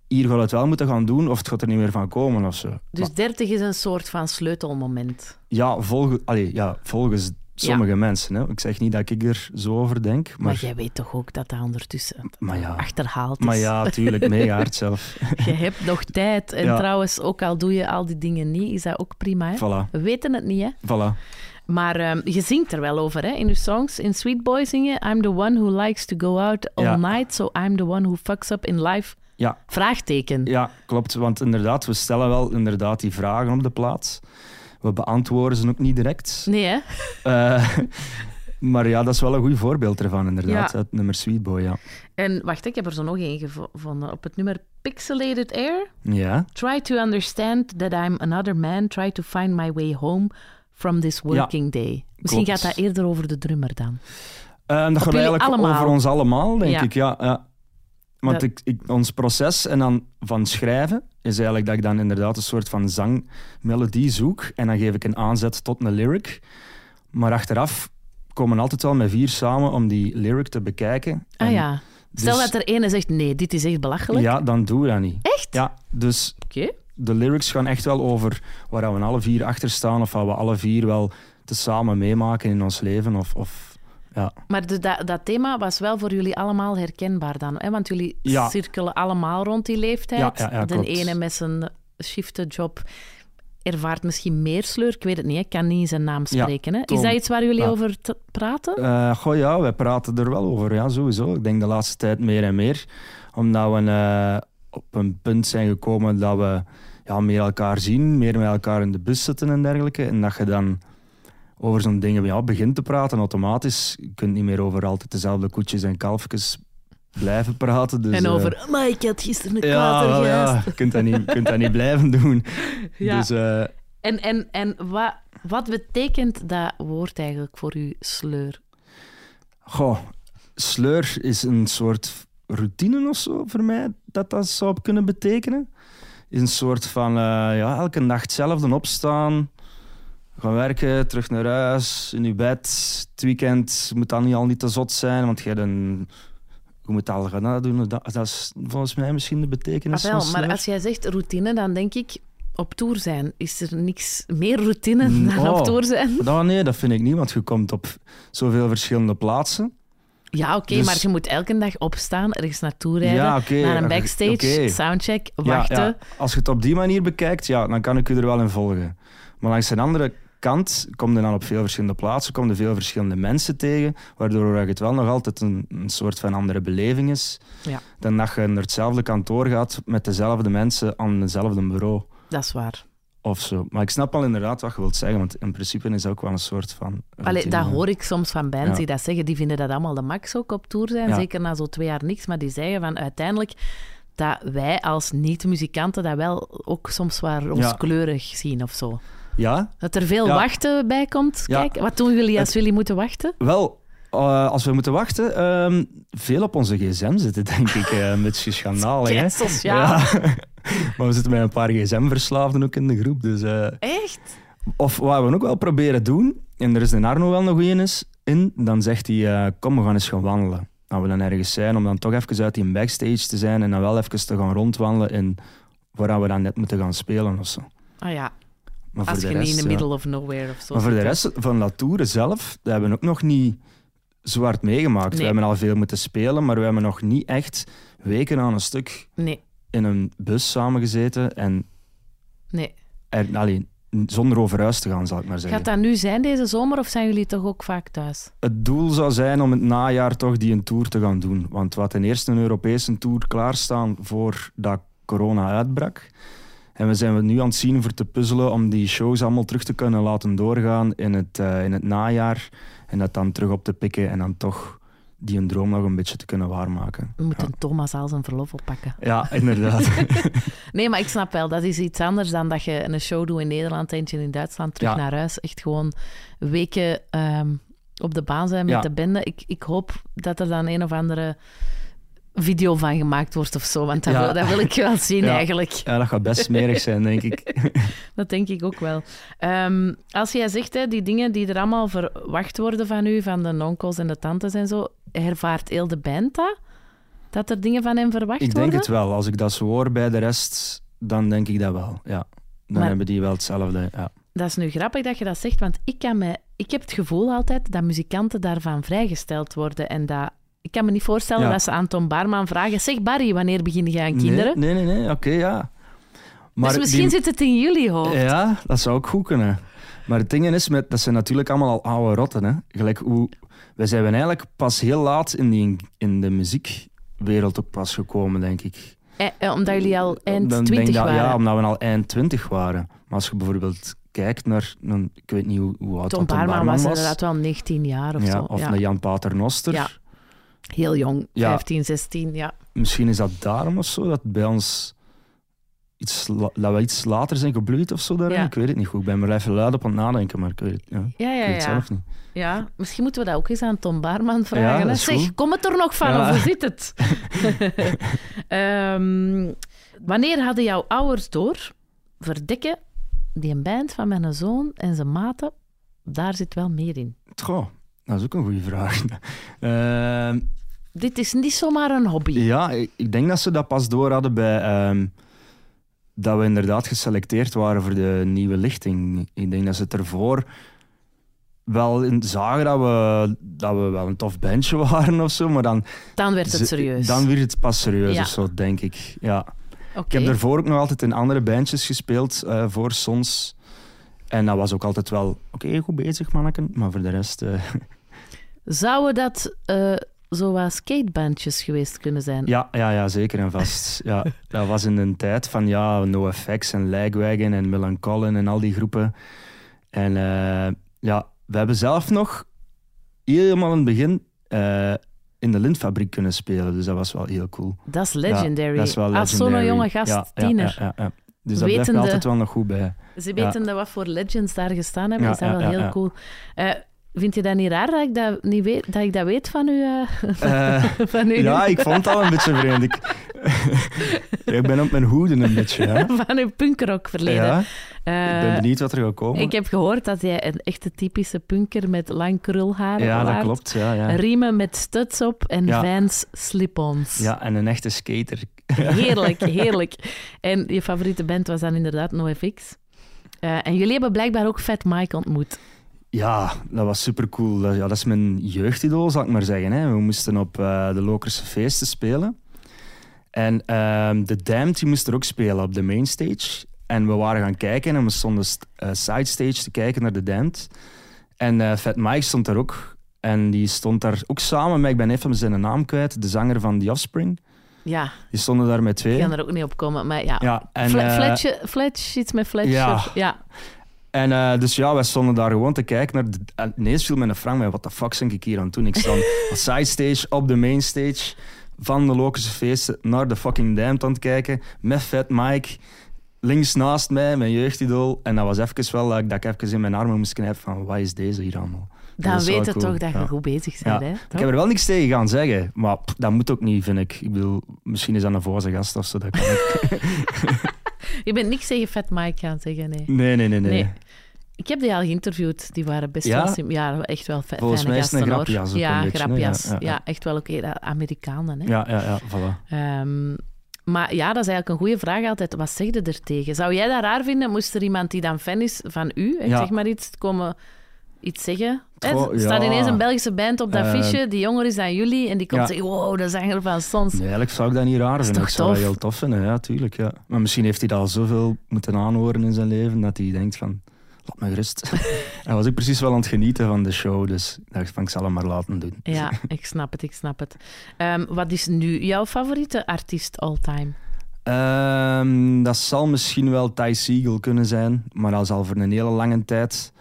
hier gaat het wel moeten gaan doen of het gaat er niet meer van komen of zo. Dus Maar 30 is een soort van sleutelmoment. ja, volge, allee, ja, volgens sommige mensen. Hè. Ik zeg niet dat ik er zo over denk, maar, Maar, jij weet toch ook dat dat ondertussen maar ja. achterhaald is. Maar ja, tuurlijk, mega hard zelf. Je hebt nog tijd. En Ja. trouwens, ook al doe je al die dingen niet, is dat ook prima. Hè? Voilà, We weten het niet, hè? voilà. Maar ehm, je zingt er wel over hè, in je songs. In Sweet Boy zing je... I'm the one who likes to go out all Ja. night, so I'm the one who fucks up in life. Ja. Vraagteken. Ja, klopt. Want inderdaad, we stellen wel inderdaad die vragen op de plaats. We beantwoorden ze ook niet direct. Nee, hè? Eh, maar ja, dat is wel een goed voorbeeld ervan, inderdaad. Ja. Het nummer Sweetboy, ja. En wacht, ik heb er zo nog één gevonden. Op het nummer Pixelated Air. Ja, Try to understand that I'm another man. Try to find my way home from this working day. Misschien klopt. gaat dat eerder over de drummer dan. Eh, dat gaat jullie eigenlijk allemaal? over ons allemaal, denk Ja. ik. Ja, ja. Want Dat- ik, ik- ons proces en dan van schrijven is eigenlijk dat ik dan inderdaad een soort van zangmelodie zoek. En dan geef ik een aanzet tot een lyric. Maar achteraf komen we altijd wel met vier samen om die lyric te bekijken. Ah En ja. Stel dus- dat er ene zegt, nee, dit is echt belachelijk. Ja, dan doen we dat niet. Echt? Ja, dus Oké. de lyrics gaan echt wel over waar we alle vier achter staan of wat we alle vier wel tezamen meemaken in ons leven. Of, of, ja. Maar de- dat, dat thema was wel voor jullie allemaal herkenbaar dan, hè? Want jullie Ja. cirkelen allemaal rond die leeftijd. Ja, ja, ja, de klopt. ene met zijn shiftenjob ervaart misschien meer sleur. Ik weet het niet, hè. ik kan niet zijn naam Ja, spreken. hè? Is Tom. dat iets waar jullie Ja. over te praten? Eh, goh, ja, wij praten er wel over, ja, sowieso. Ik denk de laatste tijd meer en meer. Omdat we eh, op een punt zijn gekomen dat we ja, meer elkaar zien, meer met elkaar in de bus zitten en dergelijke. En dat je dan over zo'n dingen ja, begint te praten automatisch. Je kunt niet meer over altijd dezelfde koetjes en kalfjes blijven praten. Dus, en eh, over, maar ik had gisteren een Ja, kwater wel, ja. gehad." Je kunt dat niet, je kunt dat niet blijven doen. Ja. Dus eh, En, en, en wat, wat betekent dat woord eigenlijk voor u, sleur? Goh, sleur is een soort routine of zo voor mij dat dat zou kunnen betekenen. Is een soort van eh, ja, elke nacht hetzelfde opstaan, gaan werken, terug naar huis, in je bed. Het weekend moet dan niet al niet te zot zijn, want je hebt een. Je moet al gaan dat doen. Dat, dat is volgens mij misschien de Ah, betekenis wel, van maar sleur. als jij zegt routine, dan denk ik, op tour zijn. Is er niks meer routine Mm, dan op oh. tour zijn? Nou, nee, dat vind ik niet, want je komt op zoveel verschillende plaatsen. Ja, oké, Dus- maar je moet elke dag opstaan, ergens naartoe rijden, Ja, oké, eh, naar een oké. backstage, soundcheck, wachten. Ja, ja. Als je het op die manier bekijkt, ja, dan kan ik u er wel in volgen. Maar langs de andere kant kom je dan op veel verschillende plaatsen, kom je veel verschillende mensen tegen, waardoor het wel nog altijd een, een soort van andere beleving is Ja. dan dat je naar hetzelfde kantoor gaat met dezelfde mensen aan hetzelfde bureau Dat is waar. of zo. Maar ik snap al inderdaad wat je wilt zeggen, want in principe is dat ook wel een soort van... Allee, routine. dat hoor ik soms van bands Ja. die dat zeggen. Die vinden dat allemaal de max ook op tour zijn, Ja. zeker na zo twee jaar niks. Maar die zeggen van uiteindelijk dat wij als niet-muzikanten dat wel ook soms waar rooskleurig zien of zo. Ja, Dat er veel Ja. wachten bij komt. Ja. Kijk, wat doen jullie als Het- jullie moeten wachten? wel... eh, als we moeten wachten, ehm, veel op onze gsm zitten, denk ik. eh, een beetje schandalig, hè? sociaal. maar we zitten met een paar gsm-verslaafden ook in de groep. Dus, eh, Echt? Of wat we ook wel proberen doen, en er is een Arno wel nog goed in, is, in dan zegt hij, eh, kom, we gaan eens gaan wandelen. Nou, we dan ergens zijn, om dan toch even uit die backstage te zijn en dan wel even te gaan rondwandelen in waar we dan net moeten gaan spelen of zo. Ah ja, Maar voor als je de rest, niet in the ja. middle of nowhere of zo Maar voor de zit, hè. rest van La Tour zelf, dat hebben we ook nog niet zwart meegemaakt. Nee. We hebben al veel moeten spelen, maar we hebben nog niet echt weken aan een stuk Nee, in een bus samengezeten en nee. er, allee, zonder over huis te gaan, zal ik maar zeggen. Gaat dat nu zijn deze zomer of zijn jullie toch ook vaak thuis? Het doel zou zijn om in het najaar toch die een tour te gaan doen. Want we hadden eerst een Europese tour klaarstaan voordat corona uitbrak. En we zijn we nu aan het zien voor te puzzelen om die shows allemaal terug te kunnen laten doorgaan in het, eh, in het najaar. En dat dan terug op te pikken en dan toch die een droom nog een beetje te kunnen waarmaken. We moeten Thomas al zijn verlof oppakken. Ja, inderdaad. Nee, maar ik snap wel, dat is iets anders dan dat je een show doet in Nederland, eentje in Duitsland, terug Ja. naar huis. Echt gewoon weken ehm, op de baan zijn met Ja. de bende. Ik, ik hoop dat er dan een of andere video van gemaakt wordt of zo, want dat, Ja. wil, dat wil ik wel zien Ja. eigenlijk. ja, dat gaat best smerig zijn, denk ik. Dat denk ik ook wel. Ehm, als jij zegt, hè, die dingen die er allemaal verwacht worden van u, van de onkels en de tantes en zo, ervaart heel de band dat? Dat er dingen van hen verwacht Ik denk worden? het wel. Als ik dat zo hoor bij de rest, dan denk ik dat wel. Ja. Dan Maar- hebben die wel hetzelfde. Ja. Dat is nu grappig dat je dat zegt, want ik, kan me, ik heb het gevoel altijd dat muzikanten daarvan vrijgesteld worden. En dat, ik kan me niet voorstellen Ja. dat ze aan Tom Barman vragen, zeg Barry, wanneer begin je aan kinderen? Nee, nee, nee. nee. Oké, ja. Maar dus misschien die- zit het in jullie hoofd. Ja, dat zou ook goed kunnen. Maar het ding is, met, dat zijn natuurlijk allemaal al oude rotten. Hè. Gelijk hoe, wij zijn eigenlijk pas heel laat in, die, in de muziekwereld ook pas gekomen, denk ik. Eh, eh, omdat jullie al eind Dan denk 20 dat- waren. Ja, omdat we al eind 20 waren. Maar als je bijvoorbeeld kijkt naar... een- ik weet niet hoe, hoe oud Tom dat Tom Baarman was was. inderdaad wel 19 jaar of ja, zo. of ja. naar Jan Paternoster. Ja. Heel jong, Ja. 15, 16, ja. Misschien is dat daarom of zo, dat bij ons... Iets, la- dat we iets later zijn gebloeid of zo daarin. Ja. Ik weet het niet goed. Ik ben maar even luid op aan het nadenken, maar ik weet het, ja, ik Ja, ja, weet het ja. zelf niet. ja. Misschien moeten we dat ook eens aan Tom Baarman vragen. Ja, dat hè. is zeg, goed. kom het er nog van Ja. of hoe zit het? Ehm, wanneer hadden jouw ouders door? Verdikken, die een band van mijn zoon en zijn maten, daar zit wel meer in. Goh, dat is ook een goede vraag. Ehm, Dit is niet zomaar een hobby. ja, ik, ik denk dat ze dat pas door hadden bij... ehm, dat we inderdaad geselecteerd waren voor de nieuwe lichting. Ik denk dat ze het ervoor wel in, zagen dat we, dat we wel een tof bandje waren of zo, maar dan... Dan werd het ze- serieus. Dan werd het pas serieus Ja. of zo, denk ik. Ja. Ik Oké. heb daarvoor ook nog altijd in andere bandjes gespeeld, eh, voor Sons. En dat was ook altijd wel, oké, goed bezig manneken, maar voor de rest... eh, Zouden dat eh zo wat skatebandjes geweest kunnen zijn? Ja, ja, ja, zeker en vast. Ja, dat was in een tijd van ja, NoFX en Lagwagon en Melancholen en al die groepen. En eh, ja, we hebben zelf nog helemaal in het begin eh, in de lintfabriek kunnen spelen. Dus dat was wel heel cool. Dat is Ja, legendary. dat is wel Als zo'n legendary. jonge gast, Ja, ja, tiener. ja, ja, ja. Dus dat blijft me Wetende- altijd wel nog goed bij. Ze weten dat wat voor legends daar gestaan hebben. Ja, is dat ja, wel ja, heel ja. cool. Eh, vind je dat niet raar dat ik dat, niet weet, dat, ik dat weet van u? eh, Eh, van u ja, ik vond dat wel een beetje vreemd. Ik, ik ben op mijn hoeden een beetje. Ja. Van uw punkrock verleden. Ja, Eh, ik ben benieuwd wat er gaat komen. ik heb gehoord dat jij een echte typische punker met lang krulhaar ja, dat waart. klopt. Ja, ja. Riemen met studs op en Ja. Vans slip-ons. Ja, en een echte skater. Heerlijk, heerlijk. En je favoriete band was dan inderdaad NoFX. Eh en jullie hebben blijkbaar ook Fat Mike ontmoet. Ja, dat was supercool. Dat, ja, dat is mijn jeugdidool, zal ik maar zeggen. Hè. We moesten op eh, de Lokerse feesten spelen. En ehm, de Damned die moest er ook spelen op de mainstage. En we waren gaan kijken en we stonden st- eh, sidestage te kijken naar de Damned. En eh, Fat Mike stond daar ook. En die stond daar ook samen met, ik ben even zijn naam kwijt, de zanger van The Offspring. Ja, Die stonden daar met ik twee. kan er ook niet op komen. Maar ja, Ja, en, Fle- eh, Fletcher, Fletch, iets met Fletcher. Ja. Ja. ja. En eh, dus ja, wij stonden daar gewoon te kijken naar... De, en ineens viel mij een frank bij, wat de fuck ben ik hier aan het doen? Ik sta op sidestage, op de mainstage, van de Lokerse feesten naar de fucking Damned aan het kijken, met Fat Mike, links naast mij, mijn jeugdidool. En dat was even wel dat ik, dat ik even in mijn armen moest knijpen van, wat is deze hier allemaal? Dan Dat is wel weet je cool, toch dat je ja. goed bezig bent. Ja. Hè? Ik Toch? heb er wel niks tegen gaan zeggen, maar pff, dat moet ook niet, vind ik. Ik bedoel, misschien is dat een voorse gast of zo. Dat kan ook. Je bent niks tegen Fat Mike gaan zeggen, nee. Nee, nee, nee, nee. Nee. Ik heb die al geïnterviewd. Die waren best Ja? wel... sim- Ja, echt wel fa- Volgens mij fijne is het een gasten, grapjas hoor. ook Ja, een beetje, hè? grapjas. Ja, Ja, ja, ja. echt wel ook eh, Amerikanen, hè. Ja, ja, ja, voilà. Ehm, maar ja, dat is eigenlijk een goede vraag altijd. Wat zeg je er tegen? Zou jij dat raar vinden? Moest er iemand die dan fan is van u, hè, Ja. zeg maar iets, komen iets zeggen? Hè, Goh, Er staat ja. ineens een Belgische band op dat Eh, fiche, die jonger is dan jullie, en die komt ja. zeggen, wow, dat zijn er van Sons. Nee, eigenlijk zou ik dat niet raar is vinden. toch Ik zou dat tof? heel tof vinden, ja, tuurlijk. Ja. Maar misschien heeft hij dat al zoveel moeten aanhoren in zijn leven, dat hij denkt van, laat me gerust. hij was ook precies wel aan het genieten van de show, dus ik dacht van, ik zal hem maar laten doen. Ja, ik snap het, ik snap het. Ehm, wat is nu jouw favoriete artiest all time? Ehm, dat zal misschien wel Ty Siegel kunnen zijn, maar dat is al voor een hele lange tijd.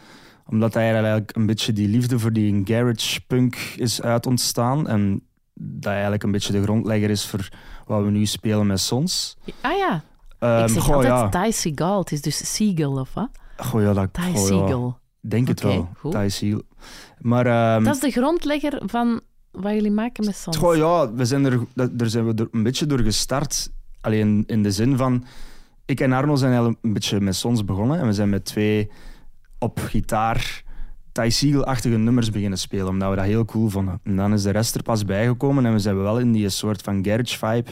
Omdat hij er eigenlijk een beetje die liefde voor die garage punk is uit ontstaan. En dat eigenlijk een beetje de grondlegger is voor wat we nu spelen met Sons. Ah ja, Ehm, ik zeg goh, altijd ja. Ty Seagal. Het is dus Seagal, of wat? Goh, ja, dat, Ty goh, ja. Seagal. Denk het Oké, wel. goed. Thai Seal. Maar ehm, Dat is de grondlegger van wat jullie maken met Sons. goh, ja, we zijn er, dat- daar zijn we door- een beetje door gestart. Alleen in de zin van, ik en Arno zijn eigenlijk een beetje met Sons begonnen. En we zijn met twee op gitaar Thai Siegel-achtige nummers beginnen spelen. Omdat we dat heel cool vonden. En dan is de rest er pas bijgekomen. En we zijn wel in die soort van garage vibe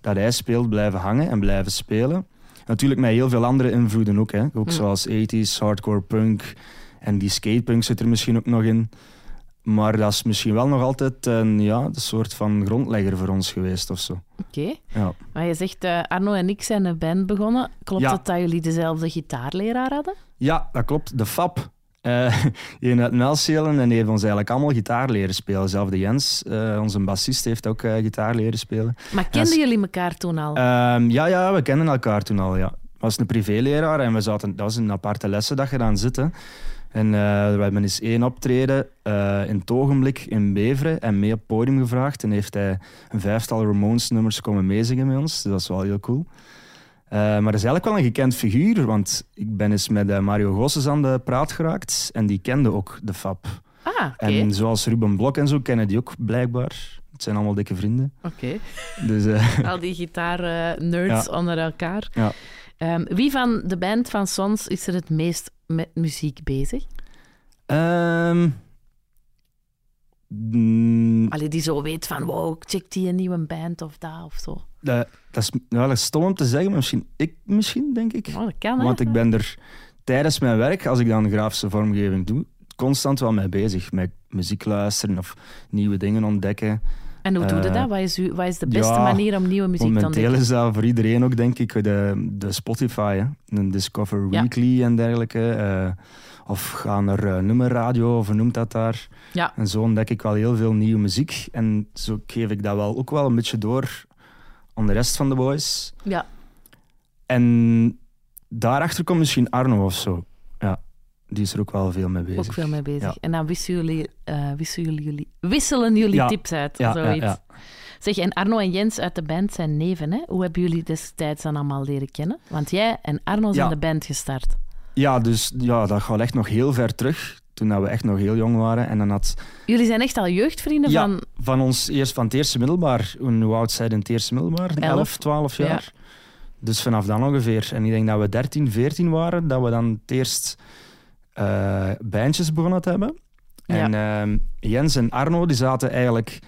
dat hij speelt blijven hangen en blijven spelen. Natuurlijk met heel veel andere invloeden ook. Hè. Ook Mm. zoals 80s, hardcore punk. En die skatepunk zit er misschien ook nog in. Maar dat is misschien wel nog altijd een, ja, een soort van grondlegger voor ons geweest of zo. Oké. Ja. Maar je zegt, eh, Arno en ik zijn een band begonnen. Klopt Ja. het dat jullie dezelfde gitaarleraar hadden? Ja, dat klopt. De FAP. Eh een uit Melcelen en die heeft ons eigenlijk allemaal gitaar leren spelen. Zelf de Jens, eh, onze bassist, heeft ook eh, gitaar leren spelen. Maar Dat kenden is- jullie elkaar toen al? Ehm, ja, ja, we kennen elkaar toen al. Ja. was een privéleraar en we zaten, dat was een aparte lessendag gedaan zitten. En eh, we hebben eens één optreden eh, in het ogenblik in Beveren en mee op het podium gevraagd. En heeft hij een vijftal Ramones-nummers komen meezingen met ons. Dus dat is wel heel cool. Eh, maar dat is eigenlijk wel een gekend figuur, want ik ben eens met eh, Mario Gosses aan de praat geraakt. En die kende ook de FAP. ah, oké. En zoals Ruben Blok en zo kennen die ook blijkbaar. Het zijn allemaal dikke vrienden. Oké. Dus eh, Al die gitaar-nerds onder elkaar. Ja. Ehm, wie van de band van Sons is er het meest met muziek bezig? Ehm mm, Allee, die zo weet van, wow, check die een nieuwe band of dat of zo. dat, dat is wel eens stom om te zeggen, maar misschien ik, misschien, denk ik. Oh, dat kan, hè? Want ik ben er tijdens mijn werk, als ik dan grafische vormgeving doe, constant wel mee bezig. Met muziek luisteren of nieuwe dingen ontdekken. En hoe doe je eh, dat? Wat is, uw- wat is de beste ja, manier om nieuwe muziek te Momenteel ontdekken? is dat voor iedereen ook, denk ik, de, de Spotify. Hè? Een Discover Ja. Weekly en dergelijke. eh, of ga naar eh, nummerradio, of noemt dat daar. Ja. En zo ontdek ik wel heel veel nieuwe muziek. En zo geef ik dat wel ook wel een beetje door aan de rest van de boys. Ja. En daarachter komt misschien Arno of zo. Ja, die is er ook wel veel mee bezig. Ook veel mee bezig. Ja. En dan wisselen jullie, eh, wisselen jullie, wisselen jullie Ja. tips uit. Ja, ja, zoiets. ja. Zeg, en Arno en Jens uit de band zijn neven. Hè? Hoe hebben jullie destijds dan allemaal leren kennen? Want jij en Arno zijn Ja. de band gestart. ja, dus ja, dat gaat echt nog heel ver terug. Toen dat we echt nog heel jong waren. En dan had Jullie zijn echt al jeugdvrienden Ja. van... Van ons eerst van het eerste middelbaar. Hoe hoe oud zij in het eerste middelbaar? Elf. 11, 12 jaar. Dus vanaf dan ongeveer. En ik denk dat we 13, 14 waren, dat we dan het eerst eh bandjes begonnen te hebben. En ehm, Jens en Arno die zaten eigenlijk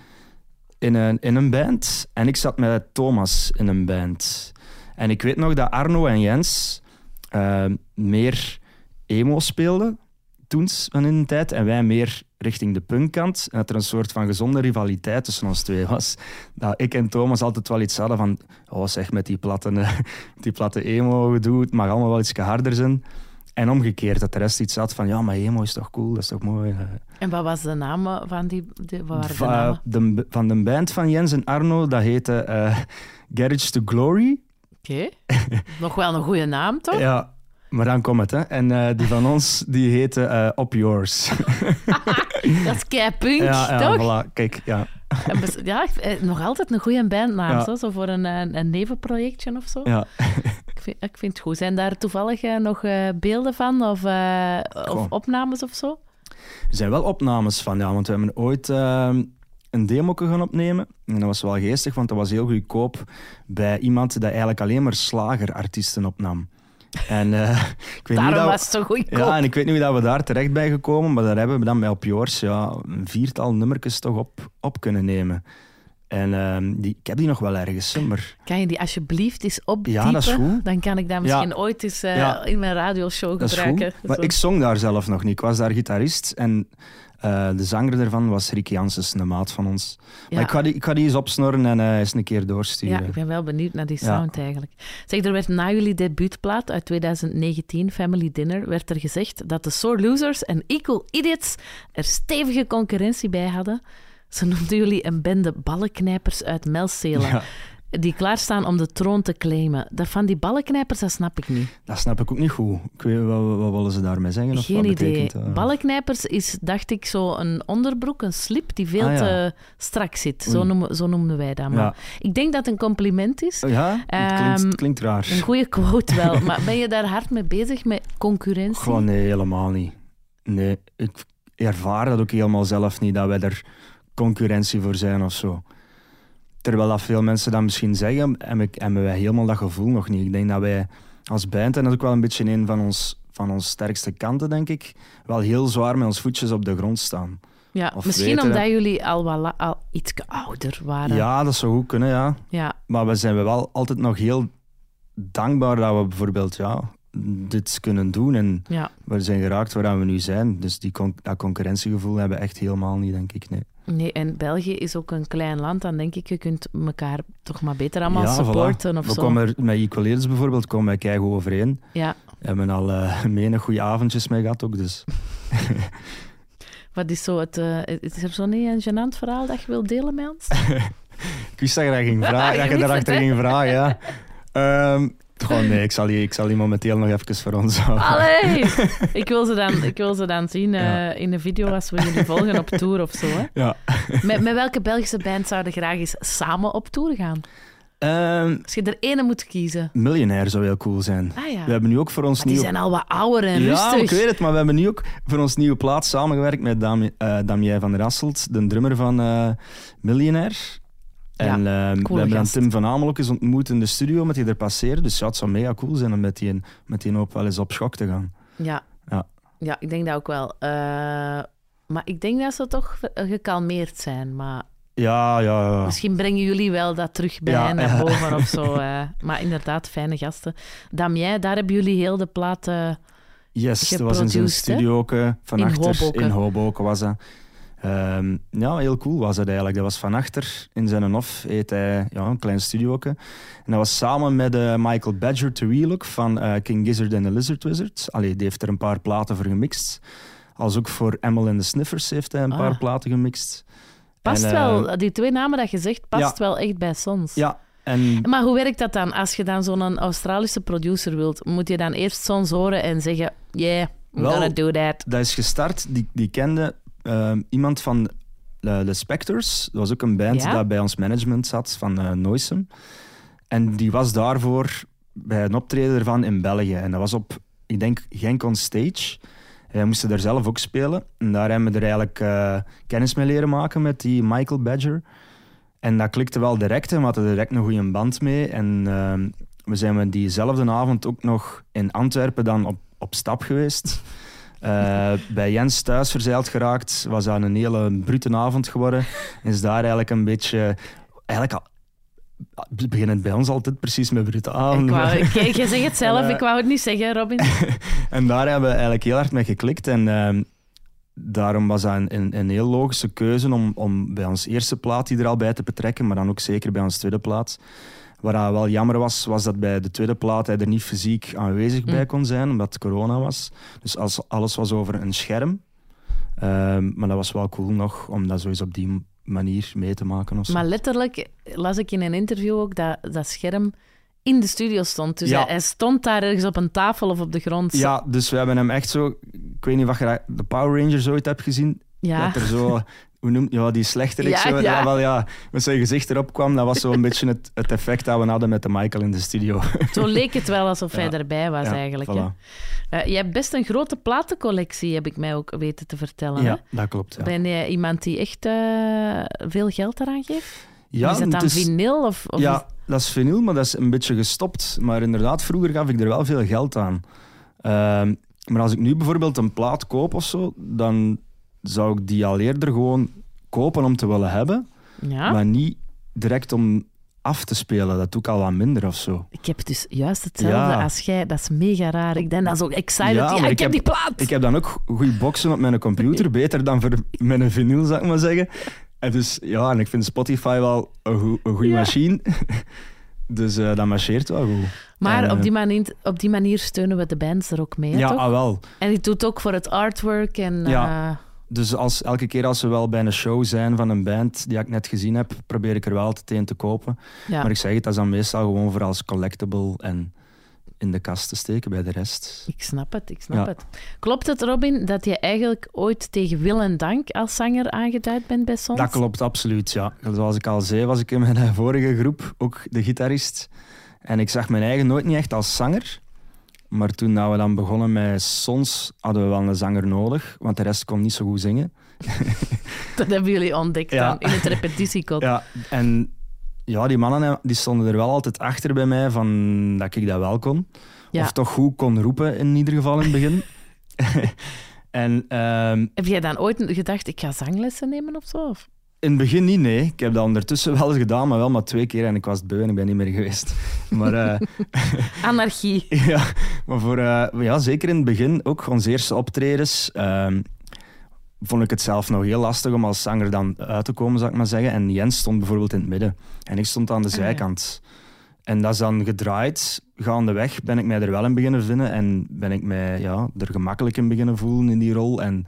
in een, in een band. En ik zat met Thomas in een band. En ik weet nog dat Arno en Jens ehm, meer emo speelden toen van in de tijd. En wij meer richting de punkkant. En dat er een soort van gezonde rivaliteit tussen ons twee was. Dat ik en Thomas altijd wel iets hadden van... Oh zeg, met die platte, eh, die platte emo-gedoe, het mag allemaal wel iets harder zijn. En omgekeerd, dat de rest iets had van... Ja, maar emo is toch cool, dat is toch mooi. eh. En wat was de naam eh, van die... de- wat waren de Va- namen? de- van de band van Jens en Arno, dat heette eh, Garage to Glory. Oké. Nog wel een goede naam, toch? Ja, maar dan komt het. Hè. En eh, die van ons, die heette eh, Up Yours. Dat is keipunk, ja, ja, toch? voilà. Kijk, ja. En bes- Ja, eh, nog altijd een goede bandnaam, Ja. zo, zo voor een, eh, een nevenprojectje of zo. ja. Ik vind, ik vind het goed. Zijn daar toevallig eh, nog eh, beelden van of, eh, of Goh. opnames of zo? Er zijn wel opnames van, ja, want we hebben ooit eh, een demo gaan opnemen. En dat was wel geestig, want dat was heel goedkoop bij iemand die eigenlijk alleen maar slagerartiesten opnam. En eh, ik weet niet Daarom dat we- was het zo goedkoop. Ja, en ik weet niet hoe dat we daar terecht bij gekomen, maar daar hebben we dan met op Yours ja, een viertal nummertjes toch op, op kunnen nemen. En ehm, die, ik heb die nog wel ergens, hè, maar Kan je die alsjeblieft eens opdiepen? Ja, dat is goed. Dan kan ik dat misschien Ja. ooit eens eh, Ja. in mijn radioshow dat is gebruiken. goed. Maar Zo. ik zong daar zelf nog niet. Ik was daar gitarist en eh, de zanger daarvan was Rick Janssens, een maat van ons. ja. Maar ik ga, die, ik ga die eens opsnorren en eh, eens een keer Ja, doorsturen. ik ben wel benieuwd naar die Ja. sound eigenlijk. Zeg, er werd na jullie debuutplaat uit 2019, Family Dinner, werd er gezegd dat de Sore Losers en Equal Idiots er stevige concurrentie bij hadden. Ze noemden jullie een bende ballenknijpers uit Melcelen, Ja, die klaarstaan om de troon te claimen. Dat van die ballenknijpers, dat snap ik niet. dat snap ik ook niet goed. Ik weet, wat, wat willen ze daarmee zeggen? Of Geen wat idee. betekent dat? Ballenknijpers is, dacht ik, zo een onderbroek, een slip die veel Ah, ja. te strak zit. Zo, Oei. noemen, zo noemden wij dat. Maar Ja. Oh, Ik denk dat het een compliment is. Ja, het klinkt, het Ehm, klinkt raar. Een goede quote wel, maar ben je daar hard mee bezig met concurrentie? Gewoon nee, helemaal niet. Nee, ik ervaar dat ook helemaal zelf niet, dat wij er concurrentie voor zijn of zo. Terwijl dat veel mensen dat misschien zeggen, hebben, ik- hebben wij helemaal dat gevoel nog niet. Ik denk dat wij als band, en dat is ook wel een beetje een van ons, van ons sterkste kanten, denk ik, wel heel zwaar met ons voetjes op de grond staan. ja, of misschien weten, omdat hè. jullie al, wat la- al iets ouder waren. Ja, dat zou goed kunnen, ja. Ja. Maar we zijn wel altijd nog heel dankbaar dat we bijvoorbeeld ja, dit kunnen doen en Ja. we zijn geraakt waar we nu zijn. Dus die con- dat concurrentiegevoel hebben we echt helemaal niet, denk ik. Nee. Nee, en België is ook een klein land. Dan denk ik, je kunt elkaar toch maar beter allemaal Ja, voilà. supporten of We zo. komen er, met Equaliers bijvoorbeeld komen we keigoed overeen. Ja. We hebben al eh menig goede avondjes mee gehad ook, dus... Wat is zo het... eh, is er zo niet een gênant verhaal dat je wilt delen met ons? Ik wist dat je, dat ging vragen, dat je wist daarachter het, hè? ging vragen, ja. Ehm, goh, nee, ik zal, die, ik zal die momenteel nog even voor ons houden. Allee! ik, wil ze dan, ik wil ze dan zien eh, Ja. in de video als we jullie volgen op tour of zo. Hè? Ja. Met, met welke Belgische band zouden graag eens samen op tour gaan? Ehm, Als je er ene moet kiezen. miljonair zou heel cool zijn. Ah ja. We hebben nu ook voor ons Maar die nieuwe... zijn al wat ouder en ja, rustig. ik weet het, maar we hebben nu ook voor ons nieuwe plaat samengewerkt met Dami- eh, Damien van Rasselt, de drummer van eh Miljonair. En Ja, ehm, we hebben dan gast. Tim van Amel ook eens ontmoet in de studio, met die er passeerde. Dus ja, het zou mega cool zijn om met die, met die op wel eens op schok te gaan. Ja. Ja. Ja, ik denk dat ook wel. Eh, maar ik denk dat ze toch ver- gekalmeerd zijn. Maar Ja, ja, ja. misschien brengen jullie wel dat terug bij Ja, hen naar ja. boven of zo. eh. Maar inderdaad, fijne gasten. Damien, daar hebben jullie heel de plaat... eh, Yes, dat was in zijn geproduced, studio ook, eh, van In achter Hoboken. in Hoboken was dat. Ehm, ja, heel cool was dat eigenlijk. Dat was van achter in zijn hof, heet hij ja, een klein studio ook. hè. En dat was samen met eh, Michael Badger to Relook van eh, King Gizzard and the Lizard Wizard. Allee, die heeft er een paar platen voor gemixt. Als ook voor Emil and the Sniffers heeft hij een Ah. paar platen gemixt. past En, eh, wel, die twee namen dat je zegt, past wel echt bij Sons. Ja, en Maar hoe werkt dat dan? Als je dan zo'n Australische producer wilt, moet je dan eerst Sons horen en zeggen... Yeah, I'm Wel, gonna do that. dat is gestart. Die, die kende ehm, iemand van de, de Spectors. Dat was ook een band Ja? dat bij ons management zat, van eh Noisem. En die was daarvoor bij een optreden ervan in België. En dat was op, ik denk, Genk on Stage. En wij moesten daar zelf ook spelen. En daar hebben we er eigenlijk eh, kennis mee leren maken met die Michael Badger. En dat klikte wel direct. En we hadden direct een goede band mee. En ehm, we zijn we diezelfde avond ook nog in Antwerpen dan op, op stap geweest. Eh, bij Jens thuis verzeild geraakt. Was dat een hele brute avond geworden. Is daar eigenlijk een beetje... Eigenlijk al, beginnen het bij ons altijd precies met brute avonden. Ik wou, ik, je zegt het zelf, En, eh, ik wou het niet zeggen, Robin. En daar hebben we eigenlijk heel hard mee geklikt. En ehm, daarom was dat een, een, een heel logische keuze om, om bij ons eerste plaat die er al bij te betrekken, maar dan ook zeker bij ons tweede plaat. Waar dat wel jammer was, was dat bij de tweede plaat hij er niet fysiek aanwezig bij Mm. kon zijn, omdat het corona was. Dus als, alles was over een scherm. Ehm, maar dat was wel cool nog, om dat zoiets op die m- manier mee te maken. Of zo. Maar letterlijk las ik in een interview ook dat dat scherm in de studio stond. Dus Ja. hij, hij stond daar ergens op een tafel of op de grond. ja, dus we hebben hem echt zo... Ik weet niet of je de Power Rangers ooit hebt gezien. ja. Dat er zo, hoe noemt ja, die slechterik Ja, zo, ja. ja. wel, ja, met zijn gezicht erop kwam, dat was zo'n beetje het, het effect dat we hadden met de Michael in de studio. Zo leek het wel alsof hij Ja. erbij was Ja, eigenlijk. hè. voilà. Eh, je hebt best een grote platencollectie, heb ik mij ook weten te vertellen. hè? Ja, dat klopt. Ja, Ben jij iemand die echt eh, veel geld eraan geeft? ja, is dat dan het is- vinyl? Of, of ja, dat is vinyl, maar dat is een beetje gestopt. Maar inderdaad, vroeger gaf ik er wel veel geld aan. Ehm, maar als ik nu bijvoorbeeld een plaat koop of zo, dan zou ik die al eerder gewoon kopen om te willen hebben, Ja? maar niet direct om af te spelen. Dat doe ik al wat minder of zo. Ik heb dus juist hetzelfde Ja. als jij. Dat is mega raar. Ik denk dat is ook excited. Ja, Ja, maar ik, ik heb, heb- die plaat! Ik heb dan ook goede boxen op mijn computer, beter dan voor mijn vinyl, zou ik maar zeggen. En dus ja, en ik vind Spotify wel een, goe- een goede Ja. machine. Dus eh, dat marcheert wel goed. Maar En, op, eh, die manier, op die manier steunen we de bands er ook mee, hè, ja, toch? ah, wel. En die doet ook voor het artwork en... Ja. eh, Dus als, elke keer als we wel bij een show zijn van een band die ik net gezien heb, probeer ik er wel altijd een te kopen. ja. Maar ik zeg het, dat is dan meestal gewoon voor als collectible en in de kast te steken bij de rest. Ik snap het, ik snap Ja. het. Klopt het, Robin, dat je eigenlijk ooit tegen wil en dank als zanger aangeduid bent bij Sons? Dat klopt, absoluut. Ja. Zoals ik al zei, was ik in mijn eh, vorige groep ook de gitarist. En ik zag mijn eigen nooit niet echt als zanger. Maar toen dat we dan begonnen met Sons, hadden we wel een zanger nodig. Want de rest kon niet zo goed zingen. Dat hebben jullie ontdekt Ja. dan, in het repetitiekot. Ja, en ja, die mannen eh, die stonden er wel altijd achter bij mij van dat ik dat wel kon. Ja. Of toch goed kon roepen, in ieder geval in het begin. ehm, en ehm, Heb jij dan ooit gedacht, ik ga zanglessen nemen of zo? Of? In het begin niet, nee. Ik heb dat ondertussen wel eens gedaan, maar wel maar twee keer. En ik was het beu en ik ben niet meer geweest. Maar, eh, Anarchie. ja, maar voor, eh, ja, zeker in het begin, ook onze eerste optredens, ehm, vond ik het zelf nog heel lastig om als zanger dan uit te komen, zou ik maar zeggen. En Jens stond bijvoorbeeld in het midden. En ik stond aan de Ah, ja. zijkant. En dat is dan gedraaid. Gaandeweg ben ik mij er wel in beginnen vinden. En ben ik mij ja, er gemakkelijk in beginnen voelen in die rol. En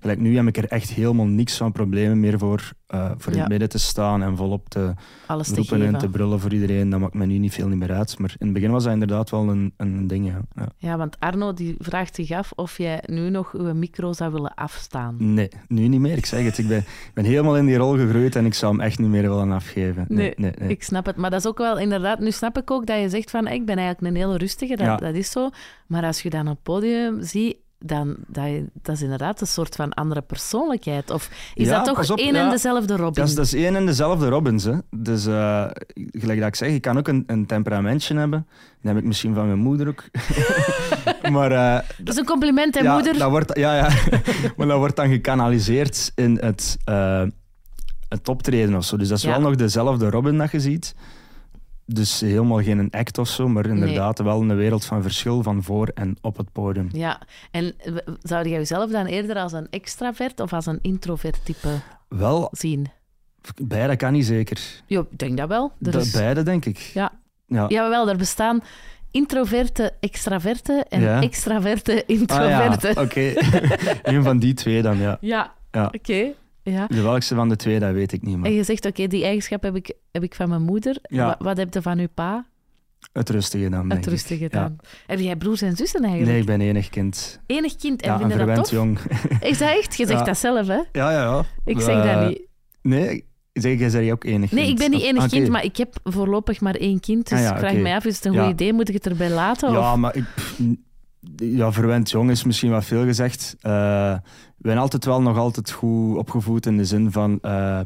gelijk nu heb ik er echt helemaal niks van problemen meer voor. eh, voor in Ja. het midden te staan en volop te, Alles te roepen en te geven. brullen voor iedereen, dat maakt me nu niet veel niet meer uit. Maar in het begin was dat inderdaad wel een, een ding. Ja. Ja. Ja, want Arno die vraagt zich af of jij nu nog uw micro zou willen afstaan. Nee, nu niet meer. Ik zeg het, ik ben, ik ben helemaal in die rol gegroeid en ik zou hem echt niet meer willen afgeven. Nee, nee, nee. Ik snap het, maar dat is ook wel inderdaad. Nu snap ik ook dat je zegt van ik ben eigenlijk een heel rustige, dat, Ja. dat is zo. Maar als je dan op het podium ziet, dan dat, je- dat is inderdaad een soort van andere persoonlijkheid. Of is Ja, dat pas toch op, één en ja. dezelfde Robin? Dat is, dat is één en dezelfde Robbins. Hè. Dus eh, gelijk dat ik zeg, ik kan ook een, een temperamentje hebben. Dat heb ik misschien van mijn moeder ook. maar eh, Dat is een compliment, hè, ja, moeder? Dat wordt, ja, ja. maar dat wordt dan gekanaliseerd in het, eh, het optreden of zo. Dus dat is Ja. wel nog dezelfde Robin dat je ziet. Dus helemaal geen act of zo, maar inderdaad wel een wereld van verschil van voor en op het podium. Ja, en w- w- zou jij jezelf dan eerder als een extravert of als een introvert type Wel, zien? beide kan niet zeker. Ja, ik denk dat wel. Er Dat is- Beide, denk ik. Ja. ja. Jawel, er bestaan introverte extraverte en Ja. extraverte Ah, ja. introverte. Oké, een van die twee dan, ja. Ja, Ja. oké. Ja. De welkste van de twee, dat weet ik niet, maar En je zegt, oké, die eigenschap heb ik, heb ik van mijn moeder. Ja. Wa- Wat, heb je van uw pa? het rustige dan, denk Het rustig ik. gedaan. Heb jij broers en zussen Ja. Nee, eigenlijk? ik ben enig kind. Enig kind. En Ja, een vind je dat verwend tof? jong. Is dat echt? Je zegt Ja. dat zelf, hè? Ja, ja, ja. Ik zeg Eh, dat niet. Nee, zeg, jij zei ook enig Nee, kind. ik ben niet Of- enig ah, oké. kind, maar ik heb voorlopig maar één kind. Dus Ah, ja, ik vraag oké. mij af, is het een goed Ja. idee? Moet ik het erbij laten? Ja, of... maar ik... pff, n- Ja, verwend jong is misschien wat veel gezegd. Eh ik ben altijd wel nog altijd goed opgevoed in de zin van... eh,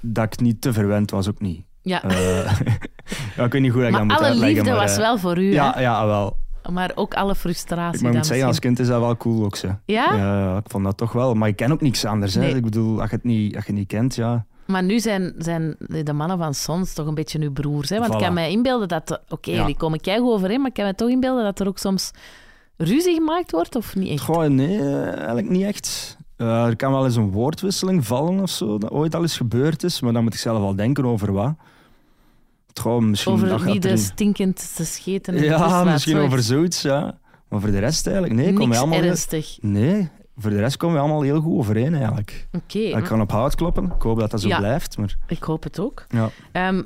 dat ik niet te verwend was, ook niet. ja. Eh, ja, ik weet niet goed hoe ik dat maar moet alle uitleggen. liefde maar, was eh, wel voor u, Ja, ja, wel. hè? maar ook alle frustratie. Ik maar ik dan moet zeggen, als kind is dat wel cool ook, ze. misschien. Ja? Ja, ik vond dat toch wel. Maar ik ken ook niks anders. Hè. Nee. Ik bedoel, als je het niet, als je het niet kent, ja. Maar nu zijn, zijn de mannen van Sons toch een beetje uw broers. Hè? Want ik Voilà. kan mij inbeelden dat... de- Oké, Ja. jullie komen keigoed overeen, maar ik kan me toch inbeelden dat er ook soms ruzie gemaakt wordt, of niet echt? Goh, nee, eh, eigenlijk niet echt. Eh, er kan wel eens een woordwisseling vallen of zo, dat ooit al eens gebeurd is. Maar dan moet ik zelf al denken over wat. Goh, misschien dat Over gaat wie er de een- stinkend te scheten en te Ja, slaat, misschien zoiets. over zoiets, ja. Maar voor de rest eigenlijk, nee. komen Niks we allemaal ernstig. Nee, voor de rest komen we allemaal heel goed overeen eigenlijk. Oké, Ik kan op hout kloppen, ik hoop dat dat zo Ja. blijft. Maar... ik hoop het ook. Ja. Ehm,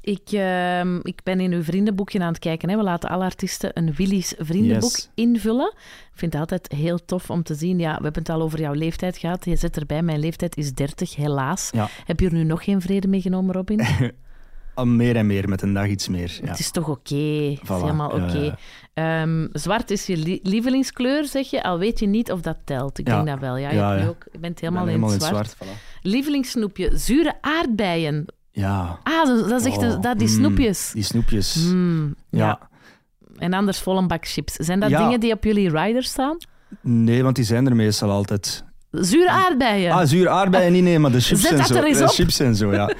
ik, ehm, ik ben in uw vriendenboekje aan het kijken. Hè. We laten alle artiesten een Willy's vriendenboek Yes. invullen. Ik vind het altijd heel tof om te zien. Ja, we hebben het al over jouw leeftijd gehad. Je zit erbij, mijn leeftijd is 30, helaas. Ja. Heb je er nu nog geen vrede mee genomen, Robin? Al meer en meer, met een dag iets meer. Ja. Het is toch oké? Het is Voilà, helemaal oké. ja, ja. Ehm, zwart is je li- lievelingskleur, zeg je. Al weet je niet of dat telt. Ik Ja. denk dat wel. Ja, je, Ja, hebt nu ja. Ook, je bent helemaal, Ik ben in het zwart. voilà. Lievelingssnoepje, zure aardbeien. Ja, Ah, dat dat is echt een- Oh, dat, die mm. snoepjes. die snoepjes. Mm, ja. ja, En anders vol een bak chips. Zijn dat Ja. dingen die op jullie rider staan? Nee, want die zijn er meestal altijd. Zure aarbeien. Ah, zuur aardbeien niet, nee, maar de chips Zet en dat zo. er eens De op. chips en zo, ja.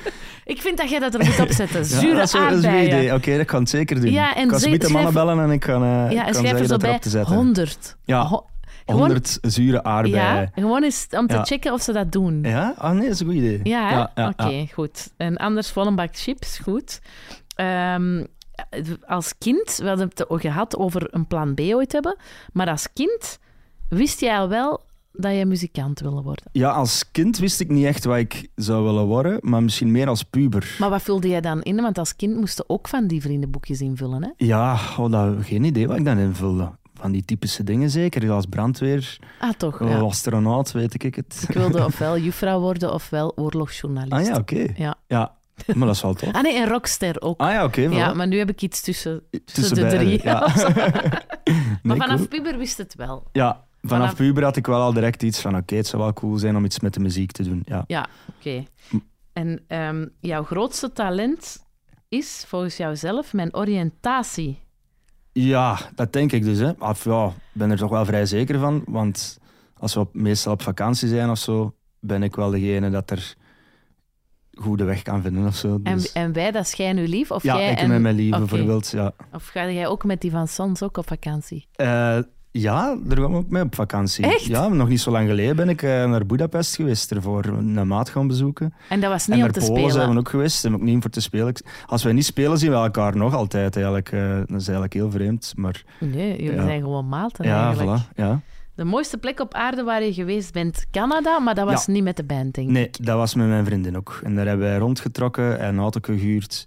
Ik vind dat jij dat er moet opzetten. Ja, Zure dat is wel- dat is een goed aardbeien. idee. Oké, dat kan het zeker doen. Ja, en ik kan ze- ze de mannen schrijf- bellen en ik kan, eh Ja, en ik kan schrijf er zeggen zo dat bij erop te zetten. 100. Ja, Ho- gewoon- 100 zure ja, aardbeien. gewoon eens om te Ja. checken of ze dat doen. Ja? Ah nee, dat is een goed idee. Ja, hè? ja, oké, ja. goed. En anders vol een bak chips, goed. Ehm, als kind, we hadden het al gehad over een plan B ooit hebben, maar als kind wist jij al wel dat je muzikant wilde worden. Ja, als kind wist ik niet echt wat ik zou willen worden, maar misschien meer als puber. Maar wat vulde jij dan in? Want als kind moesten ook van die vriendenboekjes invullen, hè? Ja, oh, dat, geen idee wat ik dan invulde. Van die typische dingen zeker, als brandweer, Ah, toch? eh, Ja. astronaut, weet ik het. Ik wilde ofwel juffrouw worden ofwel oorlogsjournalist. Ah ja, oké. Ja. Ja, maar dat is wel tof. Ah nee, en rockster ook. Ah ja, oké. voilà. ja, maar nu heb ik iets tussen, tussen de Tussen beide, drie. ja. Of zo. maar Nee, vanaf cool. puber wist het wel. Ja, vanaf, vanaf- puber had ik wel al direct iets van oké, het zou wel cool zijn om iets met de muziek te doen. Ja. Ja, oké. Hm. En ehm, jouw grootste talent is volgens jouzelf mijn oriëntatie. ja, dat denk ik dus. Hè. Of ja, ik ben er toch wel vrij zeker van, want als we op- meestal op vakantie zijn of zo, ben ik wel degene dat er goede weg kan vinden of zo. En, Dus- en wij, dat is jij nu lief? Of ja, jij ik en... met mijn lief Oké. bijvoorbeeld. Ja. Of ga jij ook met die van Sons ook op vakantie? Eh, ja, daar kwam ik mee op vakantie. Echt? Ja, nog niet zo lang geleden ben ik eh, naar Budapest geweest, ervoor een maat gaan bezoeken. En dat was en niet om naar te Polen spelen. zijn we ook geweest, zijn we ook niet om voor te spelen. Ik- Als wij niet spelen, zien we elkaar nog altijd eigenlijk. eh, dat is eigenlijk heel vreemd, maar Nee, jullie Ja. zijn gewoon maten ja, eigenlijk. voilà. Ja. De mooiste plek op aarde waar je geweest bent, Canada, maar dat was niet met de band, denk ik. Nee, dat was met mijn vriendin ook. En daar hebben wij rondgetrokken en een auto gehuurd.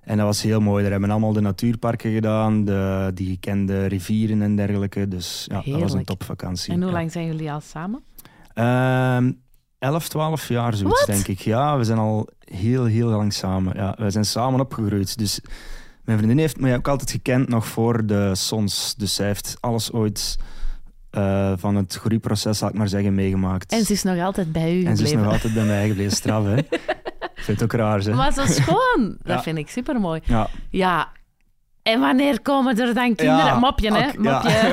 En dat was heel mooi. Daar hebben we allemaal de natuurparken gedaan, de, die gekende rivieren en dergelijke. Dus ja, dat was een Heerlijk. topvakantie. En hoe Ja. lang zijn jullie al samen? Ehm 11, 12 jaar zoiets, Wat? denk ik. Ja, we zijn al heel, heel lang samen. Ja, we zijn samen opgegroeid. Dus mijn vriendin heeft mij ook altijd gekend nog voor de Sons. Dus zij heeft alles ooit eh, van het groeiproces, zal ik maar zeggen, meegemaakt. En ze is nog altijd bij u En ze is gebleven. nog altijd bij mij gebleven. Straf, hè? Ik vind het ook raar, hè? Maar zo schoon. Ja. Dat vind ik supermooi. Ja. Ja. En wanneer komen er dan kinderen? Ja, Mopje, hè? ok, ja. Mopje.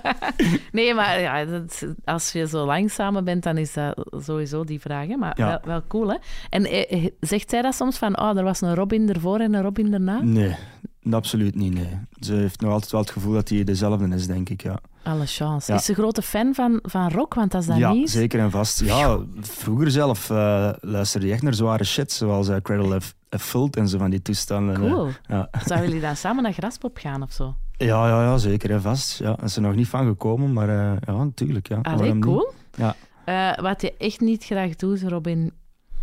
nee, maar ja, dat- als je zo lang samen bent, dan is dat sowieso die vraag. Hè? Maar Ja. wel, wel cool, hè? En eh, eh, zegt zij dat soms van, oh, er was een Robin ervoor en een Robin daarna? Nee, absoluut niet, nee. Ze heeft nog altijd wel het gevoel dat hij dezelfde is, denk ik, ja. Alle chance. Ja. Is ze grote fan van, van rock? Want als dat ja, niet is... zeker en vast. Ja, vroeger zelf eh luisterde je echt naar zware shit, zoals eh, Cradle of, of Filth en zo van die toestanden. eh. Cool. Ja. Zouden jullie dan samen naar Graspop gaan of zo? Ah, Ja, ja, ja, zeker en vast. Ja, is er nog niet van gekomen, maar eh, ja, natuurlijk. Ja. Waarom Allee, niet? cool. Ja. Eh, wat je echt niet graag doet, Robin,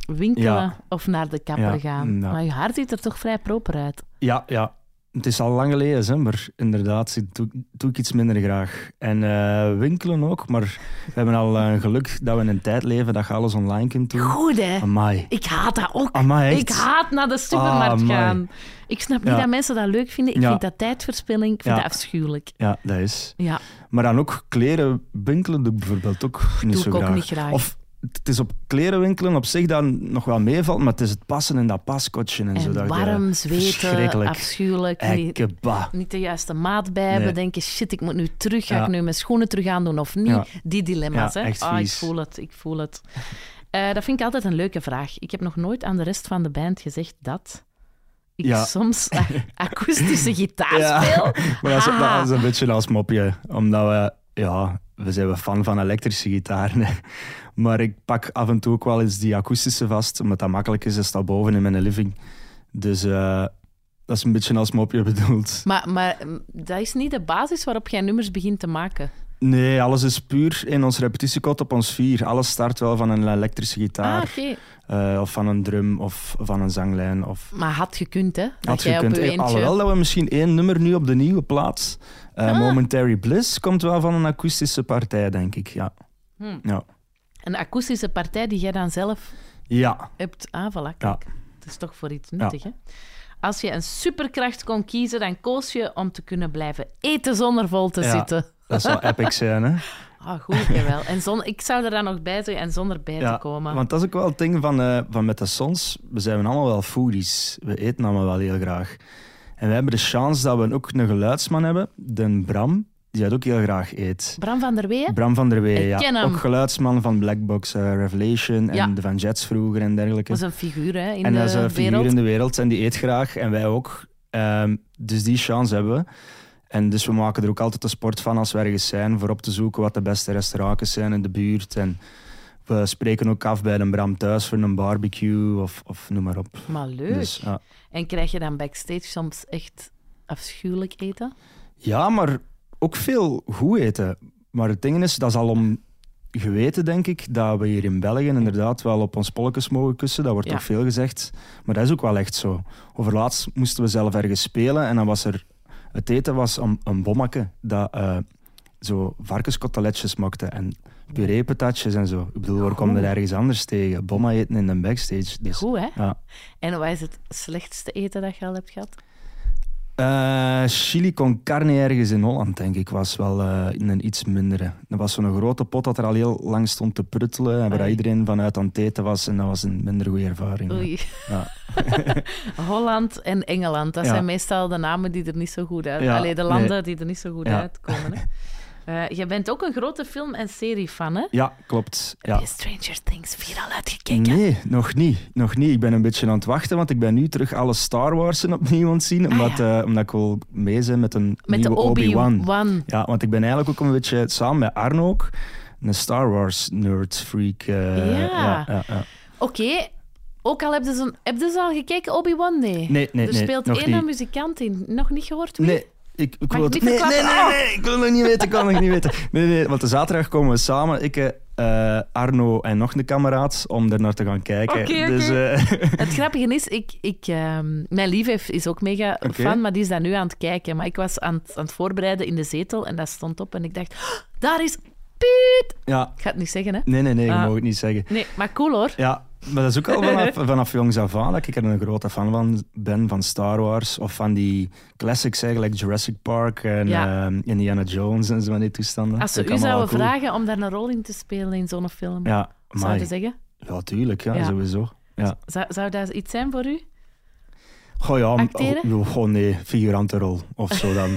winkelen Ja. of naar de kapper Ja, gaan. ja. Maar je haar ziet er toch vrij proper uit. Ja, ja. Het is al lang geleden, hè, maar inderdaad, dat doe, doe ik iets minder graag. En eh, winkelen ook, maar we hebben al eh, geluk dat we in een tijd leven dat je alles online kunt doen. Goed, hè? Amai. Ik haat dat ook. Amai, echt? Ik haat naar de supermarkt Ah, man. gaan. Ik snap niet Ja. dat mensen dat leuk vinden. Ik Ja. vind dat tijdverspilling. Ik vind Ja. dat afschuwelijk. Ja, dat is. Ja, Maar dan ook kleren winkelen doe ik bijvoorbeeld ook niet doe zo ik ook graag. niet graag. Of het is op kleren winkelen op zich dan nog wel meevalt, maar het is het passen in dat paskotje en, zo. en dat je- warm, zweten, verschrikkelijk. Eh, afschuwelijk. Niet, Ekkeba. niet de juiste maat bij hebben. Nee. Denken, shit, ik moet nu terug. Ga Ja. ik nu mijn schoenen terug aandoen of niet? Ja. Die dilemma's, Ja, hè? echt Ah, ik vies. voel het, ik voel het. Eh, dat vind ik altijd een leuke vraag. Ik heb nog nooit aan de rest van de band gezegd dat ik Ja. soms a- akoestische gitaar Ja. speel. Maar dat is, Ah. dat is een beetje als mopje, omdat we, ja, we zijn wel fan van elektrische gitaren. hè. Maar ik pak af en toe ook wel eens die akoestische vast, omdat dat makkelijk is, dat staat boven in mijn living. Dus eh, dat is een beetje als mopje bedoeld. Maar, maar mm, dat is niet de basis waarop jij nummers begint te maken. Nee, alles is puur in ons repetitiekot op ons vier. Alles start wel van een elektrische Ah, gitaar, oké. eh, of van een drum, of van een zanglijn, of Maar had gekund, hè? Dat Had jij gekund. op je Eh, eentje... Alhoewel dat we misschien één nummer nu op de nieuwe plaats. eh, Ah. Momentary Bliss komt wel van een akoestische partij, denk ik. Ja, Hm. Ja. Een akoestische partij die jij dan zelf ja. hebt... Ah, voilà, ja. kijk. Het is toch voor iets nuttig, hè? Als je een superkracht kon kiezen, dan koos je om te kunnen blijven eten zonder vol te Ja. zitten. dat zou epic zijn. Hè? Ah, goed, jawel. En zon, ik zou er dan nog bij zijn en zonder bij Ja, te komen. Want dat is ook wel het ding van, eh, van met de sons. We zijn allemaal wel foodies. We eten allemaal wel heel graag. En we hebben de chance dat we ook een geluidsman hebben, Den Bram, die dat ook heel graag eet. Bram van der Weeën? Bram van der Wee, Ik ken ja. hem. Ook geluidsman van Blackbox Revelation en Ja. de Van Jets vroeger en dergelijke. Dat is een figuur, hè, in en eh, de dat is een figuur wereld. in de wereld en die eet graag en wij ook. Ehm, dus die chance hebben we. En dus we maken er ook altijd de sport van als we ergens zijn, voor op te zoeken wat de beste restaurants zijn in de buurt. En we spreken ook af bij een Bram thuis voor een barbecue of, of noem maar op. Maar leuk. Dus, ja. En krijg je dan backstage soms echt afschuwelijk eten? ja, maar ook veel goed eten. Maar het ding is, dat is al om geweten, denk ik, dat we hier in België inderdaad wel op ons polletjes mogen kussen. Dat wordt Ja. ook veel gezegd. Maar dat is ook wel echt zo. Overlaatst moesten we zelf ergens spelen en dan was er... Het eten was een, een bommetje dat eh, zo varkenskoteletjes maakte en pureepatatjes en zo. Ik bedoel, waar kwam er Goed. ergens anders tegen? Bomma eten in de backstage. Dus, Goed, hè? ja. En wat is het slechtste eten dat je al hebt gehad? Eh, chili con carne ergens in Holland, denk ik, was wel eh, in een iets mindere. Dat was zo'n grote pot dat er al heel lang stond te pruttelen en waar Ai. iedereen vanuit aan het eten was. En dat was een minder goede ervaring. ja. Oei. Ja. Holland en Engeland, dat Ja. zijn meestal de namen die er niet zo goed uit... Ja, Allee, de landen die er niet zo goed Ja. uitkomen, hè? Eh, jij bent ook een grote film- en serie-fan, hè? Ja, klopt. Ja. Heb je Stranger Things 4 al uitgekeken? Nee, nog niet. Nog niet. Ik ben een beetje aan het wachten, want ik ben nu terug alle Star Warsen opnieuw aan het zien. Omdat, eh, omdat ik wil mee zijn met een Ah, Met nieuwe de Obi-Wan. Obi-Wan. Ja, want ik ben eigenlijk ook een beetje, samen met Arno ook, een Star Wars nerd freak. eh, Ja. ja, ja. Oké, ook al heb je, ze, heb je ze al gekeken, Obi-Wan? Nee. Nee, nee, er nee, speelt nog één niet. muzikant in. Nog niet gehoord wie? Nee, ik, ik Mag wil ik het- niet nee, nee, verklappen? nee, nee, ik wil het niet weten, ik wil het nog niet weten. Nee, nee, want de zaterdag komen we samen, ik, eh, Arno en nog een kameraad, om er naar te gaan kijken. Oké, oké. Dus, eh, Het grappige is, ik, ik, ehm, mijn lief heeft- is ook mega Oké. fan, maar die is daar nu aan het kijken. Maar ik was aan het, aan het voorbereiden in de zetel en dat stond op en ik dacht, "Oh, daar is Piet! ja, Ik ga het niet zeggen, hè? nee, nee, nee, je Ah. mag het niet zeggen. Nee, maar cool hoor. Ja, maar dat is ook al vanaf, vanaf jongs af aan dat ik er een grote fan van ben, van Star Wars of van die classics eigenlijk, Jurassic Park en Ja. ehm, Indiana Jones en zo van die toestanden. Als ze Dat u is allemaal zouden wel cool. vragen om daar een rol in te spelen in zo'n film, Ja, zou je maar zeggen? ja, tuurlijk, ja, Ja. sowieso. Ja. Zou, zou dat iets zijn voor u? Goh, ja, m- Acteren? oh, oh, nee, figurantenrol of zo dan.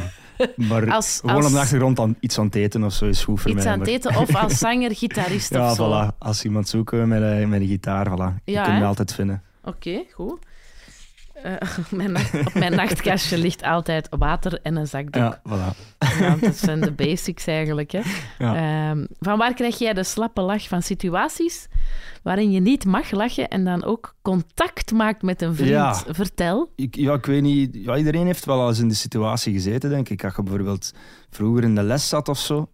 Maar Als- gewoon als- op de achtergrond dan iets aan het eten of zo is goed voor Iets mij. aan het maar- eten of als zanger, gitarist Ja, of zo? voilà. Als iemand zoekt eh, met, eh, met een gitaar, Ja, voilà. je kunt hè? me altijd vinden. Oké, goed. Eh, op mijn nacht- op mijn nachtkastje ligt altijd water en een zakdoek. Ja, voilà. Ja, dat zijn de basics eigenlijk. Hè. Ja. Ehm, van waar krijg jij de slappe lach van situaties waarin je niet mag lachen en dan ook contact maakt met een vriend? Ja. Vertel. Ik, ja, ik weet niet. Ja, iedereen heeft wel eens in de situatie gezeten, denk ik. Als je bijvoorbeeld vroeger in de les zat of zo.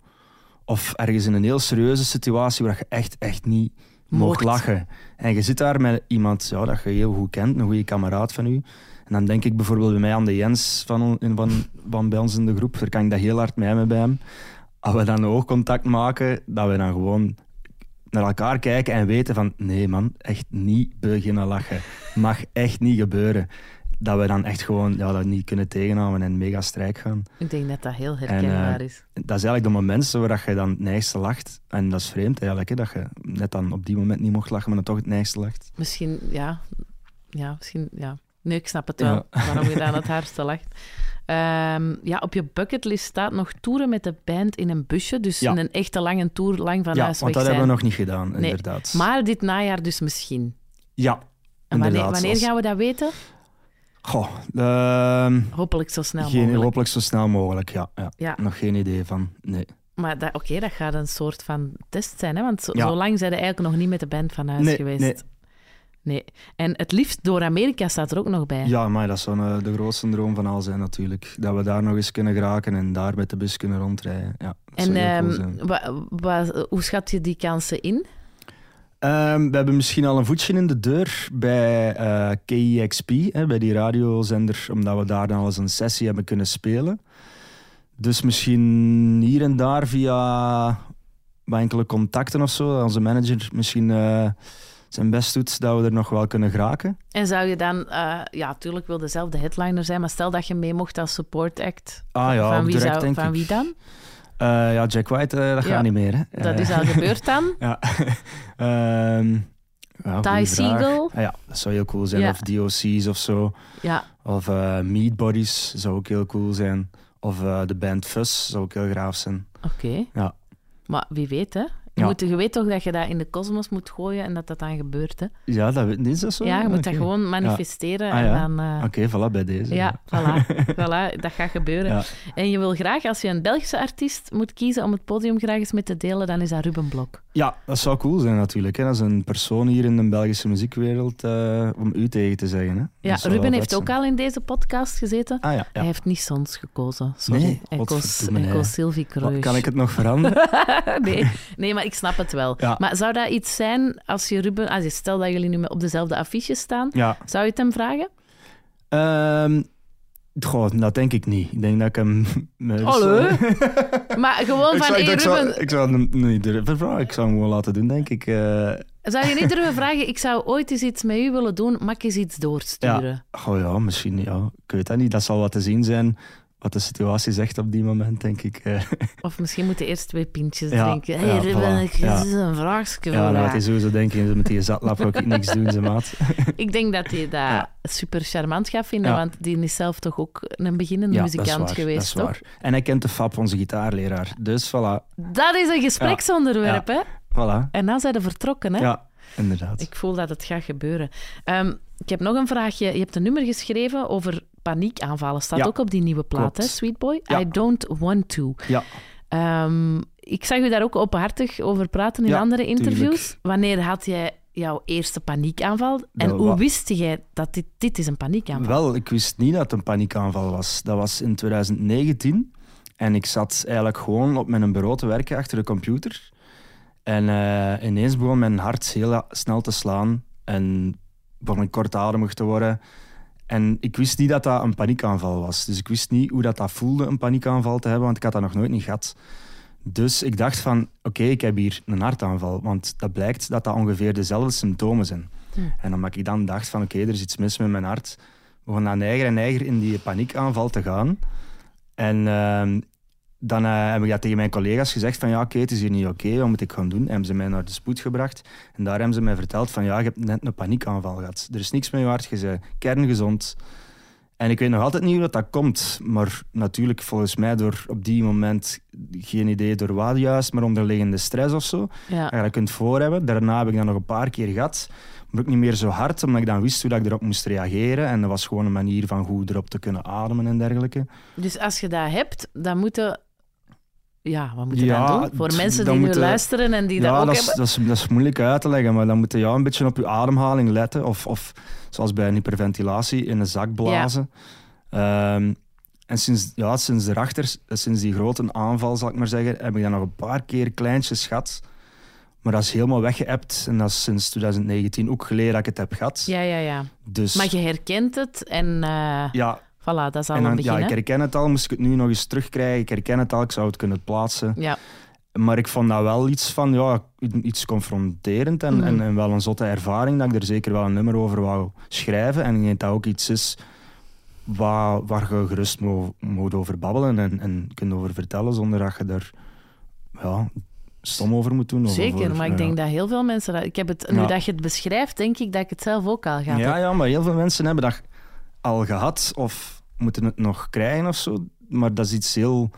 Of ergens in een heel serieuze situatie waar je echt, echt niet Mocht. mocht lachen. En je zit daar met iemand ja, dat je heel goed kent, een goede kameraad van u. En dan denk ik bijvoorbeeld bij mij aan de Jens van, on- in- van, van bij ons in de groep. Daar kan ik dat heel hard mee met bij hem. Als we dan oogcontact maken, dat we dan gewoon naar elkaar kijken en weten van... Nee man, echt niet beginnen lachen. Mag echt niet gebeuren. Dat we dan echt gewoon ja, dat niet kunnen tegenhouden en mega strijk gaan. Ik denk dat dat heel herkenbaar is. Dat is eigenlijk de momenten waar je dan het neigste lacht. En dat is vreemd eigenlijk, hè, dat je net dan op die moment niet mocht lachen, maar dan toch het neigste lacht. Misschien, ja. Ja, misschien, ja. Nee, ik snap het wel, Ja. waarom je dan het hardste lacht. Ehm, ja, op je bucketlist staat nog toeren met de band in een busje. Dus Ja. in een echte lange tour, lang van ja, huis want weg dat zijn. hebben we nog niet gedaan, inderdaad. Maar dit najaar dus misschien. Ja, En wanneer, inderdaad, wanneer als- gaan we dat weten? Goh, ehm, Hopelijk zo snel geen, mogelijk. hopelijk zo snel mogelijk, ja, ja. Ja. Nog geen idee van, nee. Maar dat- oké, dat gaat een soort van test zijn, hè? Want zo, Ja. zo lang zijn we eigenlijk nog niet met de band van huis Nee, geweest. nee. Nee. En het liefst door Amerika staat er ook nog bij. Ja, maar dat zou eh, de grootste droom van al zijn natuurlijk. Dat we daar nog eens kunnen geraken en daar met de bus kunnen rondrijden. Ja, dat en zou heel cool ehm, zijn. wa- wa- hoe schat je die kansen in? Ehm, we hebben misschien al een voetje in de deur bij eh KEXP, hè, bij die radiozender, omdat we daar dan al eens een sessie hebben kunnen spelen. Dus misschien hier en daar via wat enkele contacten of zo, dat onze manager misschien eh, zijn best doet, dat we er nog wel kunnen geraken. En zou je dan, eh, ja, tuurlijk wil dezelfde headliner zijn, maar stel dat je mee mocht als support act. Ah ja, van ook wie, direct zou, denk van ik. wie dan? Eh, ja, Jack White, eh, dat Ja, gaat niet meer. Hè. Dat Eh, is al gebeurd dan. Ja. Ehm, Ty ja, goeie vraag. Ah Segall? Ja, dat zou heel cool zijn. Ja. Of DOC's of zo. Ja, Of eh Meat Bodies zou ook heel cool zijn. Of eh, de band Fuzz zou ook heel graaf zijn. oké. Ja. Maar wie weet, hè? Je, Ja. moet, je weet toch dat je dat in de kosmos moet gooien en dat dat dan gebeurt, hè? Ja, dat weet is dat zo? Ja, je moet dat Oké. gewoon manifesteren Ah, en ja. dan... eh, Oké, voilà, bij deze. Ja, voilà, voilà, dat gaat gebeuren. Ja. En je wil graag, als je een Belgische artiest moet kiezen om het podium graag eens mee te delen, dan is dat Ruben Blok. Ja, dat zou cool zijn natuurlijk. Hè. Dat is een persoon hier in de Belgische muziekwereld, eh, om u tegen te zeggen. Hè. Ja, Dat zou wel Ruben vet heeft ook zijn. al in deze podcast gezeten. Ah ja, ja. Hij heeft niet Sons gekozen, sorry. Nee, hij, koos, godverdomme, hij hè. koos Sylvie Kruis. Wat, kan ik het nog veranderen? nee, nee, maar ik snap het wel. Ja. Maar zou dat iets zijn als je Ruben... Als je, stel dat jullie nu op dezelfde affiche staan, ja, zou je het hem vragen? Ehm goh, dat denk ik niet. Ik denk dat ik hem... Hallo? Maar gewoon Ik van, zou, hey, ik, zou, Ruben, ik zou hem niet durven vragen. Ik zou hem gewoon laten doen, denk ik. Eh, zou je niet durven vragen, ik zou ooit eens iets met u willen doen, mag ik eens iets doorsturen? oh ja, misschien, ja. Ik weet dat niet. Dat zal wat te zien zijn wat de situatie zegt op die moment, denk ik. eh. Of misschien moeten eerst twee pintjes Ja, drinken. ja, hey, dit voilà, ik- ja. dit is een vraagje voor ja, laat jou. hij sowieso denken, met die zatlap ga ik niks doen, ze maat. Ik denk dat hij dat Ja. super charmant gaat vinden, Ja. want die is zelf toch ook een beginnende muzikant geweest, dat is toch? waar. En hij kent de FAP, onze gitaarleraar. Dus voilà. Dat is een gespreksonderwerp, hè? voilà. En dan zijn ze vertrokken, hè? Ja, inderdaad. Ik voel dat het gaat gebeuren. Ehm, ik heb nog een vraagje. Je hebt een nummer geschreven over paniekaanvallen. Staat Ja. ook op die nieuwe plaat, Klopt. hè, Sweetboy? Ja. I don't want to. Ja. Ehm, ik zag u daar ook openhartig over praten in Ja, andere tuurlijk. interviews. Wanneer had jij jouw eerste paniekaanval? En Nou, hoe wa- wist jij dat dit, dit is een paniekaanval? Wel, ik wist niet dat het een paniekaanval was. Dat was in 2019. En ik zat eigenlijk gewoon op mijn bureau te werken achter de computer. En eh, ineens begon mijn hart heel la- snel te slaan. En begon ik kortademig te worden. En ik wist niet dat dat een paniekaanval was. Dus ik wist niet hoe dat, dat voelde, een paniekaanval te hebben, want ik had dat nog nooit niet gehad. Dus ik dacht van, oké, ik heb hier een hartaanval. Want dat blijkt dat dat ongeveer dezelfde symptomen zijn. Hm. En omdat ik dan dacht van, oké, er is iets mis met mijn hart, begon dan eiger en eiger in die paniekaanval te gaan. En ehm, dan eh, heb ik dat tegen mijn collega's gezegd van, ja, oké, het is hier niet oké, wat moet ik gaan doen? Hebben ze mij naar de spoed gebracht. En daar hebben ze mij verteld van, ja, je hebt net een paniekaanval gehad. Er is niks mee waard, je bent kerngezond. En ik weet nog altijd niet hoe dat, dat komt. Maar natuurlijk, volgens mij, door op die moment geen idee door wat juist, maar onderliggende stress of zo Ja. dat je dat kunt voor hebben. Daarna heb ik dat nog een paar keer gehad. Maar ook niet meer zo hard, omdat ik dan wist hoe dat ik erop moest reageren. En dat was gewoon een manier van goed erop te kunnen ademen en dergelijke. Dus als je dat hebt, dan moeten... Ja, wat moeten we Ja, dan doen? Voor d- mensen dan die nu moeten- luisteren en die dat ja, ook dat is, hebben. dat, is, dat is moeilijk uit te leggen, maar dan moet je ja, een beetje op je ademhaling letten. Of, of zoals bij een hyperventilatie, in een zak blazen. Ehm, en sinds, ja, sinds, erachter, sinds die grote aanval, zal ik maar zeggen, heb ik dat nog een paar keer kleintjes gehad. Maar dat is helemaal weggeëpt. En dat is sinds 2019 ook geleden dat ik het heb gehad. Ja, ja, ja. Dus, Maar je herkent het en eh, ja, voilà, dat is al En een dan, begin. ja, ik hè? herken het al. Moest ik het nu nog eens terugkrijgen? Ik herken het al. Ik zou het kunnen plaatsen. Ja. Maar ik vond dat wel iets van, ja, iets confronterend en, Mhm. en, en wel een zotte ervaring dat ik er zeker wel een nummer over wou schrijven. En ik denk dat ook iets is waar, waar je gerust mo- moet over babbelen en, en kunt over vertellen zonder dat je er ja, stom over moet doen. of Zeker, over- maar ik ja. denk dat heel veel mensen... dat- Ik heb het, nu Ja. dat je het beschrijft, denk ik dat ik het zelf ook al ga Ja, ja, maar heel veel mensen hebben dat al gehad of moeten het nog krijgen of zo. Maar dat is iets heel...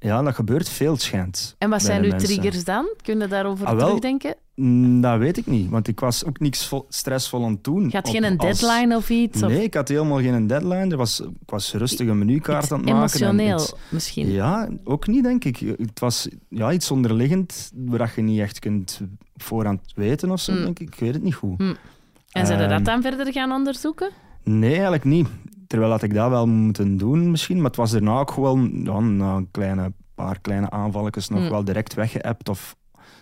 Ja, dat gebeurt veel, het schijnt. En wat bij zijn de uw mensen. triggers dan? Kunnen we daarover Ah, wel. terugdenken? Mm, Dat weet ik niet, want ik was ook niks vo- stressvol aan het doen. Je had Op- geen een als- deadline of iets? of Nee, ik had helemaal geen deadline. Er was, ik was rustig een menukaart iets aan het maken. en emotioneel iets- misschien? ja, ook niet, denk ik. Het was ja, iets onderliggend waar je niet echt kunt voorhand weten of zo, Mm. denk ik. Ik weet het niet goed. En zijn we dat Ehm, dan verder gaan onderzoeken? Nee, eigenlijk niet. Terwijl had ik dat wel moeten doen misschien. Maar het was daarna ook gewoon ja, na een kleine, paar kleine aanvalletjes nog Mm. wel direct weggeëpt. Of,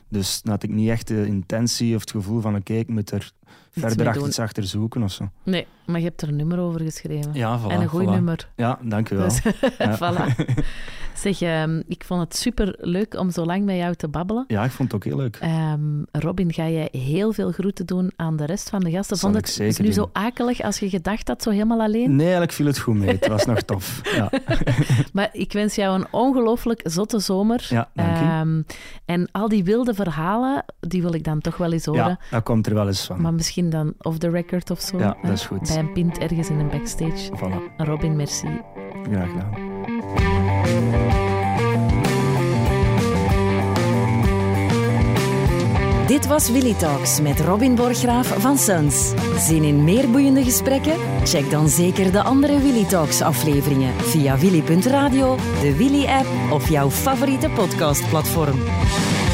dus dan had ik niet echt de intentie of het gevoel van oké, ik moet er verder mee achter doen. iets achter zoeken of zo. Nee, maar je hebt er een nummer over geschreven. Ja, voilà, en een goed voilà. nummer. Ja, dankjewel. Dus, Ja. voilà. Zeg, ehm, ik vond het super leuk om zo lang met jou te babbelen. Ja, ik vond het ook heel leuk. Ehm, Robin, ga jij heel veel groeten doen aan de rest van de gasten? Zal Vond ik het is zeker nu doen. zo akelig als je gedacht had, zo helemaal alleen? Nee, eigenlijk viel het goed mee. Het was nog tof. Ja, Maar ik wens jou een ongelooflijk zotte zomer. ja dank je. Ehm, en al die wilde verhalen, die wil ik dan toch wel eens horen. Ja, dat komt er wel eens van. Maar misschien dan off the record of zo. Ja, hè? dat is goed. Bij een pint ergens in een backstage. Voilà, Robin, merci. graag gedaan. Dit was Willy Talks met Robin Borgraaf van Suns. Zin in meer boeiende gesprekken? Check dan zeker de andere Willy Talks afleveringen via willy.radio, de Willy-app of jouw favoriete podcastplatform.